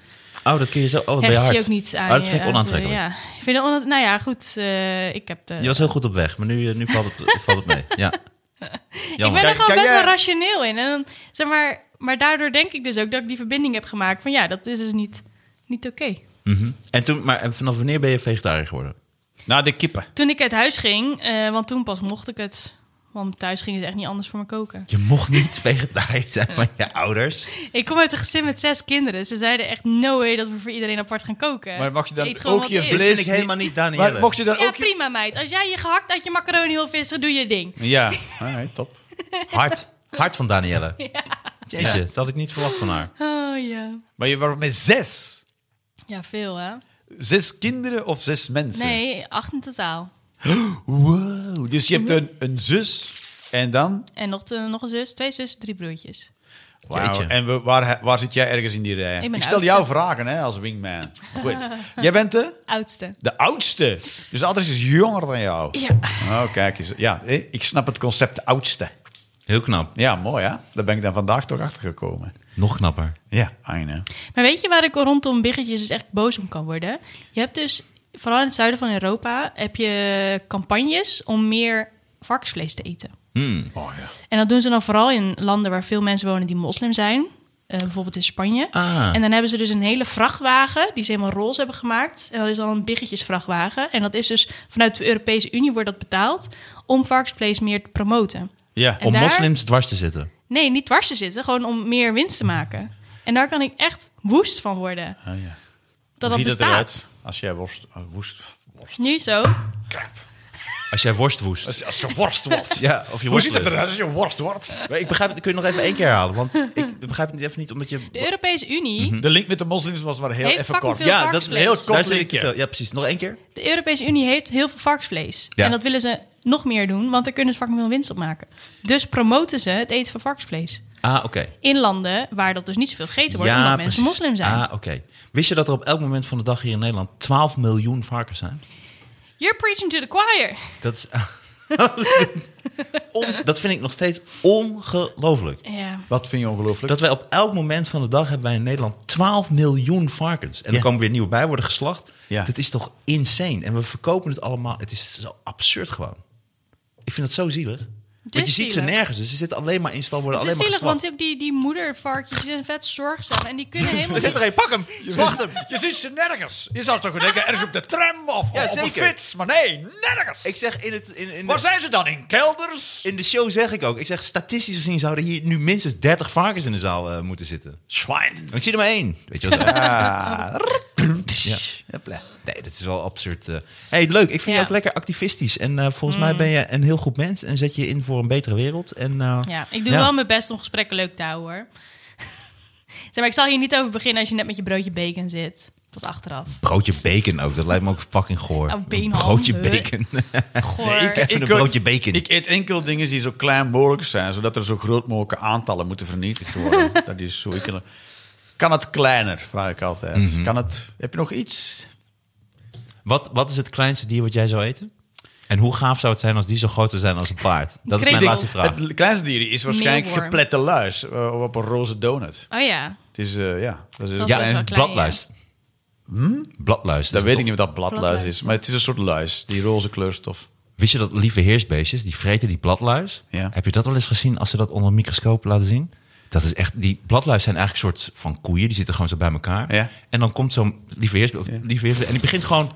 B: Oh, dat kun je zo. Oh, dat ben je
D: hecht je,
B: hard.
D: ook niet aan.
B: Oh, dat vind
D: je-
B: ik
D: aan ze-
B: onaantrekkelijk.
D: Ja. Ik vind het ona- nou ja, goed. eh, ik heb de...
B: Je was heel goed op weg, maar nu, eh, nu valt,
D: *laughs*
B: het, valt het mee. Ja.
D: Ik ben
B: Jammer.
D: er gewoon
C: Kijk,
D: best
C: jij-
D: wel rationeel in. En dan, zeg maar, maar daardoor denk ik dus ook dat ik die verbinding heb gemaakt van ja, dat is dus niet, niet oké.
B: Mhm. En toen, maar en vanaf wanneer ben je vegetariër geworden?
C: Nou, de kippen.
D: Toen ik uit huis ging, eh, want toen pas mocht ik het. Want thuis ging het echt niet anders voor me koken.
B: Je mocht niet *laughs* vegetariër zijn van je ouders.
D: Ik kom uit een gezin met zes kinderen. Ze zeiden echt no way dat we voor iedereen apart gaan koken.
C: Maar mag je dan
D: Eet gewoon
C: ook
D: wat
C: je
D: is.
B: Dit
C: vlees-
B: vind ik helemaal niet, Danielle.
C: Maar mocht je dan
D: Ja,
C: ook... je-
D: prima meid. Als jij je gehakt uit je macaroni wil vissen, doe je ding.
C: Ja, Alright, top.
B: Hard. Hard van
D: *laughs*
B: Danielle. Jeetje, dat had ik niet verwacht van haar.
D: Oh ja.
C: Maar je was met zes.
D: Ja, veel hè?
C: Zes kinderen of zes mensen?
D: Nee, acht in totaal.
C: Wow. Dus je hebt een, een zus en dan?
D: En nog, eh, nog een zus, twee zussen, drie broertjes.
C: Wauw.
B: Jeetje.
C: En we- waar, waar zit jij ergens in die rij?
D: Ik ben
C: stel
D: oudste.
C: jou vragen hè, als wingman. Goed. jij bent de,
D: Oudste.
C: de oudste. Dus de oudste is jonger dan jou.
D: Ja.
C: Oh, kijk eens. Ja, hé, ik snap het concept oudste.
B: Heel knap.
C: Ja, mooi hè. Daar ben ik dan vandaag toch achter gekomen.
B: Nog knapper.
C: Ja, Aine.
D: Maar weet je waar ik rondom biggetjes dus echt boos om kan worden? Je hebt dus, vooral in het zuiden van Europa, heb je campagnes om meer varkensvlees te eten.
C: Oh ja.
D: En dat doen ze dan vooral in landen waar veel mensen wonen die moslim zijn. Eh, bijvoorbeeld in Spanje.
B: Ah.
D: En dan hebben ze dus een hele vrachtwagen die ze helemaal roze hebben gemaakt. En dat is dan een biggetjesvrachtwagen. En dat is dus vanuit de Europese Unie wordt dat betaald om varkensvlees meer te promoten.
C: Ja.
D: En
B: Om
D: daar-
B: moslims dwars te zitten.
D: Nee, niet dwars te zitten, gewoon om meer winst te maken. En daar kan ik echt woest van worden.
C: Ah, ja.
D: Dat dat
C: Hoe ziet het
D: bestaat.
C: eruit als jij worst... oh, Woest, worst.
D: Nu zo.
B: Als jij worst woest.
C: Als, als *laughs* je worst wordt.
B: Ja, of je
C: Hoe
B: worst
C: ziet het eruit als je worst wordt?
B: Maar ik begrijp het, kun je nog even één keer herhalen?
D: *laughs*
B: Want ik begrijp het even niet, omdat je...
D: De Europese Unie,
C: De link met de moslims was maar heel
D: Heeft
C: even
D: fucking
C: kort.
D: veel
B: ja, dat is een heel kort
D: varkensvlees.
C: Daar zit ik
B: linkje.
C: te veel.
B: Ja, precies. Nog één keer?
D: de Europese Unie heeft heel veel varkensvlees.
B: Ja.
D: En dat willen ze nog meer doen, want daar kunnen ze fucking veel winst op maken. Dus promoten ze het eten van varkensvlees.
B: Ah, oké.
D: In landen waar dat dus niet zoveel gegeten wordt, omdat mensen
B: precies.
D: moslim zijn.
B: Ah, oké. Wist je dat er op elk moment van de dag hier in Nederland 12 miljoen varkens zijn?
D: You're preaching to the choir.
B: Dat
D: *laughs*
B: is... *laughs* On- dat vind ik nog steeds ongelooflijk.
D: Ja.
C: Wat vind je ongelooflijk?
B: Dat wij op elk moment van de dag hebben wij in Nederland 12 miljoen varkens. En
C: Ja.
B: er komen weer nieuwe bij, worden geslacht.
C: Ja.
B: Dat is toch insane. En we verkopen het allemaal. Het is zo absurd gewoon. Ik vind dat zo zielig. Want je ziet ze
D: zielig.
B: nergens. Dus ze zitten alleen maar in stal, worden
D: Het is
B: alleen maar
D: zielig, want
B: geslacht.
D: ook die, die moedervarkjes zijn vet zorgzaam. En die
B: *laughs*
D: kunnen helemaal
B: Er zit er
D: niet...
B: een, pak hem, slacht hem.
C: Je ziet ze nergens. Je zou toch denken, ergens op de tram of
B: Ja,
C: op een
B: zeker.
C: fiets. Maar nee, nergens.
B: Ik zeg in, het, in, in,
C: Waar
B: de,
C: zijn ze dan? In kelders?
B: in de show zeg ik ook. Ik zeg statistisch gezien zouden hier nu minstens 30 varkens in de zaal eh, moeten zitten.
C: Zwijn.
B: Ik zie er maar één. Weet je wel zo.
C: Ja. Hopla.
B: Nee, dat is wel absurd. eh. hey, leuk. Ik vind je
D: Ja. Mm.
B: ook lekker activistisch. En eh, volgens mij ben je een heel goed mens en zet je je in voor een betere wereld. En, eh,
D: Ja, ik doe
B: ja.
D: wel mijn best om gesprekken leuk te houden, hoor. *laughs* zeg maar, ik zal hier niet over beginnen als je net met je broodje bacon zit. Pas achteraf.
B: Broodje bacon ook, dat lijkt me ook fucking goor.
D: Oh, beenham,
B: Een broodje
D: hè.
B: bacon. *laughs*
D: Goor.
B: Even een broodje bacon.
C: Ik eet enkel dingen die zo klein mogelijk zijn, zodat er zo groot mogelijke aantallen moeten vernietigd
D: *laughs*
C: worden. dat is zo. Ik, kan het kleiner, vraag ik altijd.
B: Mhm.
C: Kan het, heb je nog iets?
B: Wat, wat is het kleinste dier wat jij zou eten? En hoe gaaf zou het zijn als die zo groot zou zijn als een paard? Dat is mijn
D: Krekel.
B: laatste vraag.
C: Het kleinste dier is waarschijnlijk
D: Meelworm.
C: geplette luis eh, op een roze donut.
D: Oh ja.
C: Het is, eh, ja, dat is een
D: Dat
B: Ja,
D: is wel
B: en
D: klein,
B: bladluis. Hmm? Bladluis.
C: Dat
B: is
C: weet
B: toch-
C: ik niet wat dat bladluis is, maar het is een soort luis, die roze kleurstof.
B: Wist je dat lieve heersbeestjes, die vreten die bladluis?
C: Ja.
B: Heb je dat wel eens gezien als ze dat onder een microscoop laten zien? Dat is echt, die bladluis zijn eigenlijk een soort van koeien, die zitten gewoon zo bij elkaar.
C: Ja.
B: En dan komt zo'n lieve heersbeest, of lieve heersbeest- en die begint gewoon,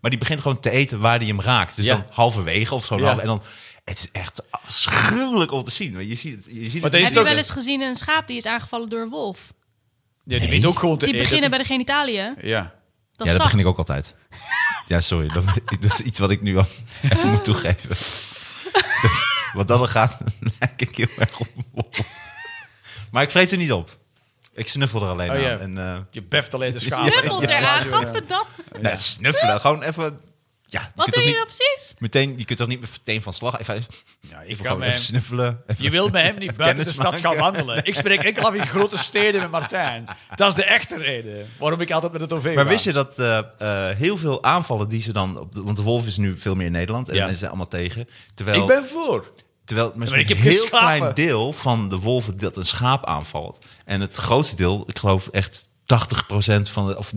B: maar die begint gewoon te eten waar die hem raakt. Dus
C: Ja.
B: dan halverwege of zo.
C: Ja.
B: half- en dan, het is echt afschuwelijk om te zien. want Je ziet, het- je ziet het
C: Maar deze
B: niet.
C: is
D: Heb je
C: ook
D: wel
C: een-
D: eens gezien een schaap die is aangevallen door een wolf?
C: Ja,
B: Nee.
C: die weet ook gewoon te
D: Die
C: eten.
D: beginnen bij de genitaliën.
C: Ja.
D: Dat
B: ja,
D: is
B: dat
D: zacht.
B: begin ik ook altijd. Ja, sorry. Dat, *laughs* dat is iets wat ik nu al even moet toegeven. Dat- wat dat dan gaat, *laughs* lijk ik heel erg op. een wolf. Maar ik vreet er niet op. Ik snuffel er alleen
C: Oh,
B: aan.
C: ja.
B: En, eh,
C: Je beft alleen de schapen.
D: Knuffelt eraan, godverdamme.
B: nee, snuffelen. Gewoon even... Ja, je
D: Wat
B: kunt
D: doe
B: toch
D: je
B: niet
D: dan precies?
B: Meteen, je kunt toch niet meteen van slag... Ik ga even,
C: Ja, ik
B: even,
C: ga
B: gewoon
C: met
B: even
C: hem-
B: snuffelen. Even-
C: Je wil met hem niet buiten de
B: Kennis
C: stad gaan
B: maken.
C: wandelen. Ik spreek enkel af in grote steden met Martijn. Dat is de echte reden waarom ik altijd met het OV
B: Maar
C: ga.
B: wist je dat eh, eh, heel veel aanvallen die ze dan... Op de- want de wolf is nu veel meer in Nederland. En
C: Ja.
B: mensen zijn allemaal tegen. Terwijl...
C: Ik ben voor.
B: Terwijl maar
C: Maar ik
B: een
C: heb geen
B: heel
C: schapen.
B: klein deel van de wolven dat een schaap aanvalt. En het grootste deel, ik geloof echt 80% van de, of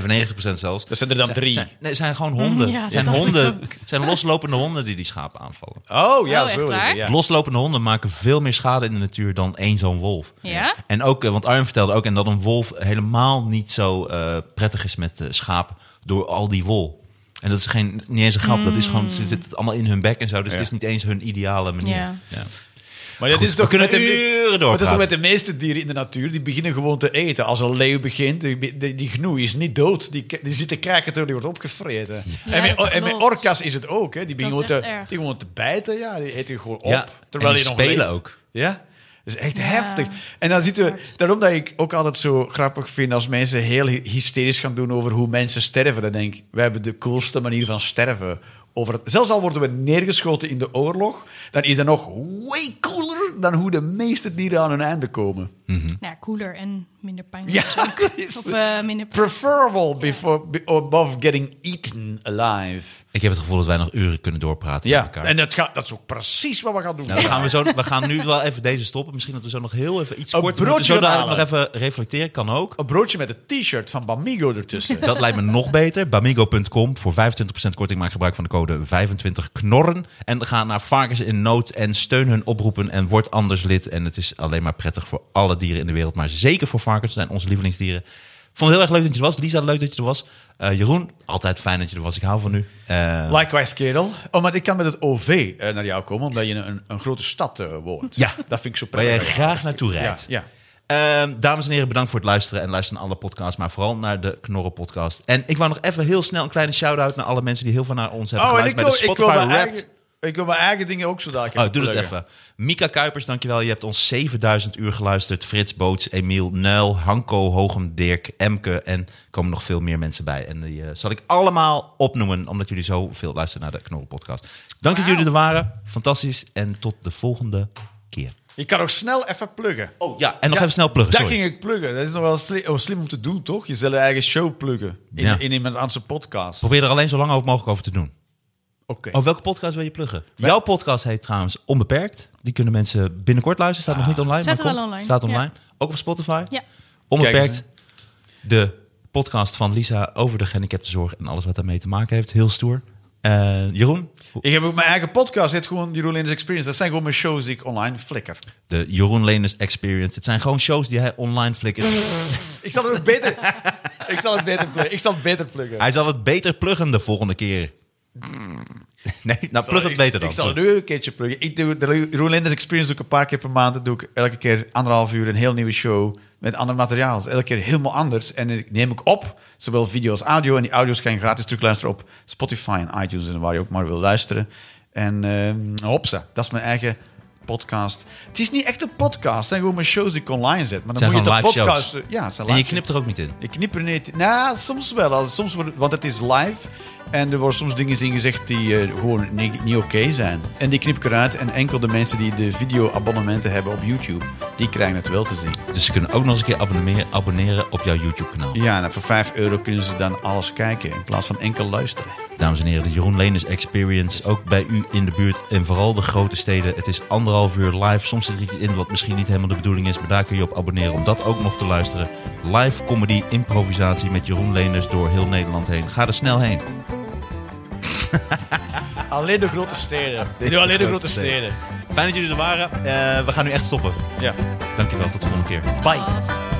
B: 95% zelfs.
C: Dat Dus zijn er dan
B: zijn-
C: drie.
B: Zijn, nee, zijn gewoon honden.
D: Mm, ja, dat
B: zijn,
D: dacht ik
B: honden zijn loslopende honden die die schapen aanvallen.
C: Oh ja,
D: Oh, echt
C: zo is het,
D: waar?
C: ja.
B: Loslopende honden maken veel meer schade in de natuur dan één zo'n wolf.
D: Ja?
B: En ook, eh, want Arjen vertelde ook, en dat een wolf helemaal niet zo eh, prettig is met eh, schaap door al die wol. En dat is geen, niet eens een
D: Mm.
B: grap, dat is gewoon, ze zitten allemaal in hun bek en zo, dus
C: Ja.
B: het is niet eens hun ideale manier.
D: Ja.
B: Ja.
C: Maar dat
B: Goed,
C: is
B: we
C: toch
B: kunnen
C: met de-
B: uren
C: maar Dat is
B: doorpraten.
C: toch met de meeste dieren in de natuur. Die beginnen gewoon te eten. Als een leeuw begint, die, die, die gnoei is niet dood. Die, k- die zit te kraken terwijl die wordt opgevreten. en, met,
D: dat
C: en met
D: klopt.
C: orka's is het ook. Hè. Die beginnen
D: Dat is
C: gewoon
D: echt
C: te,
D: erg.
C: die gewoon te bijten. Ja, die eten gewoon op.
B: Ja,
C: Terwijl
B: en
C: je
B: die
C: nog
B: spelen
C: leeft.
B: ook.
C: Ja, dat is echt
D: Ja,
C: heftig. En dan zitten we,
D: hard.
C: daarom dat ik ook altijd zo grappig vind als mensen heel hy- hysterisch gaan doen over hoe mensen sterven. Dan denk ik, wij hebben de coolste manier van sterven. Over het, zelfs al worden we neergeschoten in de oorlog, dan is dat nog way cooler dan hoe de meeste dieren aan hun einde komen.
D: Nou, ja, koeler en minder pijn.
C: Ja, *laughs*
D: Of eh, minder pijn.
C: preferable before, be- above getting eaten alive.
B: Ik heb het gevoel dat wij nog uren kunnen doorpraten met elkaar.
C: en dat, gaat, dat is ook precies wat we gaan doen.
B: Nou, dan gaan we, zo, we gaan nu wel even deze stoppen. Misschien dat we zo nog heel even iets
C: Een
B: kort
C: broodje
B: zo dadelijk nog
C: halen.
B: even reflecteren. Kan ook.
C: Een broodje met een t-shirt van Bamigo ertussen.
B: Dat lijkt me nog beter. Bamigo.com voor 25% korting. Maak gebruik van de code 25knorren. En ga naar Varkens in Nood en steun hun oproepen en word anders lid. En het is alleen maar prettig voor alle dieren in de wereld. Maar zeker voor varkens, dat zijn onze lievelingsdieren. Ik vond het heel erg leuk dat je er was. Lisa, leuk dat je er was. Eh, Jeroen, altijd fijn dat je er was. Ik hou van u. Eh,
C: Likewise, kerel. Oh, maar ik kan met het OV eh, naar jou komen, omdat je in een, een grote stad eh, woont.
B: Ja.
C: Dat vind ik zo
B: waar jij
C: prettig.
B: graag naartoe
C: ja,
B: rijdt.
C: ja.
B: Ehm, dames en heren, bedankt voor het luisteren. En luisteren naar alle podcasts, maar vooral naar de Knorren podcast. En ik wou nog even heel snel een kleine shout-out naar alle mensen die heel veel naar ons hebben
C: Oh, en
B: geluisterd.
C: ik wil,
B: bij de
C: ik, wil
B: Spotify
C: mijn
B: Wrapped.
C: eigen, ik wil mijn eigen dingen ook zo dadelijk
B: Oh, doe dat
C: pluggen.
B: even. Mika Kuipers, dankjewel. Je hebt ons 7000 uur geluisterd. Frits Boots, Emiel Nuil, Hanko, Hogem, Dirk, Emke. En er komen nog veel meer mensen bij. En die eh, zal ik allemaal opnoemen, omdat jullie zoveel luisteren naar de Knorren podcast. Dank dat
D: Wauw.
B: jullie er waren. Fantastisch. En tot de volgende keer.
C: Je kan ook snel even pluggen.
B: Oh ja, en nog
C: Ja,
B: even snel pluggen.
C: Dat
B: sorry.
C: ging ik pluggen. Dat is nog wel sli- oh, slim om te doen, toch? Je zal je eigen show pluggen in,
B: Ja. Oh.
C: in iemand anders podcast. Oké.
B: Probeer er alleen zo lang over mogelijk over te doen. Oh, welke podcast wil je pluggen? Jouw podcast heet trouwens Onbeperkt. Die kunnen mensen binnenkort luisteren. Staat nog niet online,
D: Staat
B: maar
D: er wel
B: komt.
D: online.
B: Staat online.
D: Ja.
B: Ook op Spotify.
D: Ja.
B: Onbeperkt.
C: Kijk eens,
B: de podcast van Lisa over de gehandicaptenzorg en alles wat daarmee te maken heeft. Heel stoer. Eh, Jeroen,
C: Ik heb ook mijn eigen podcast. Het heet gewoon Jeroen Linders Experience. Dat zijn gewoon mijn shows die ik online flikker.
B: de Jeroen Leners Experience. Het zijn gewoon shows die hij online flikkert.
C: *laughs* Ik zal het ook beter...
B: *laughs*
C: ik zal het beter pluggen. Ik zal het beter pluggen.
B: hij zal het beter pluggen de volgende
C: *laughs*
B: keer. nee, nou plug het
C: Ik-
B: beter dan.
C: Ik zal het nu een keertje pluggen. Ik doe de Jeroen Linders Experience doe ik een paar keer per maand. Dat doe ik elke keer anderhalf uur een heel nieuwe show met ander materiaal. Dus elke keer helemaal anders. En ik neem ik op, zowel video als audio. En die audio's kan je gratis terugluisteren op Spotify en iTunes en waar je ook maar wil luisteren. En eh, hopsa, dat is mijn eigen podcast. Het is niet echt een podcast. Het zijn gewoon mijn shows die ik online zet. Maar dan
B: Het zijn
C: moet je
B: gewoon
C: de
B: live
C: podcast...
B: shows.
C: Ja, het zijn
B: en je
C: live shows.
B: knipt er ook niet in.
C: Ik knip er niet. Nou, soms wel. Als- Soms, wordt- want het is live. En er worden soms dingen in gezegd die eh, gewoon ni- niet, oké zijn. En die knip ik eruit. En enkel de mensen die de video-abonnementen hebben op YouTube, die krijgen het wel te zien.
B: Dus ze kunnen ook nog eens een keer abonneren, abonneren op jouw YouTube kanaal.
C: Ja, en voor 5 euro kunnen ze dan alles kijken in plaats van enkel luisteren.
B: Dames en heren, de Jeroen Leners Experience. Ook bij u in de buurt en vooral de grote steden. Het is anderhalf uur live. Soms zit er iets in wat misschien niet helemaal de bedoeling is. Maar daar kun je op abonneren om dat ook nog te luisteren. Live comedy improvisatie met Jeroen Leners door heel Nederland heen. Ga er snel *laughs* heen.
C: Alleen de grote steden.
B: Ik doe alleen de grote steden. Fijn dat jullie er waren. Eh, we gaan nu echt stoppen.
C: Ja.
B: Dankjewel, tot de volgende keer.
C: Bye.
D: Ach.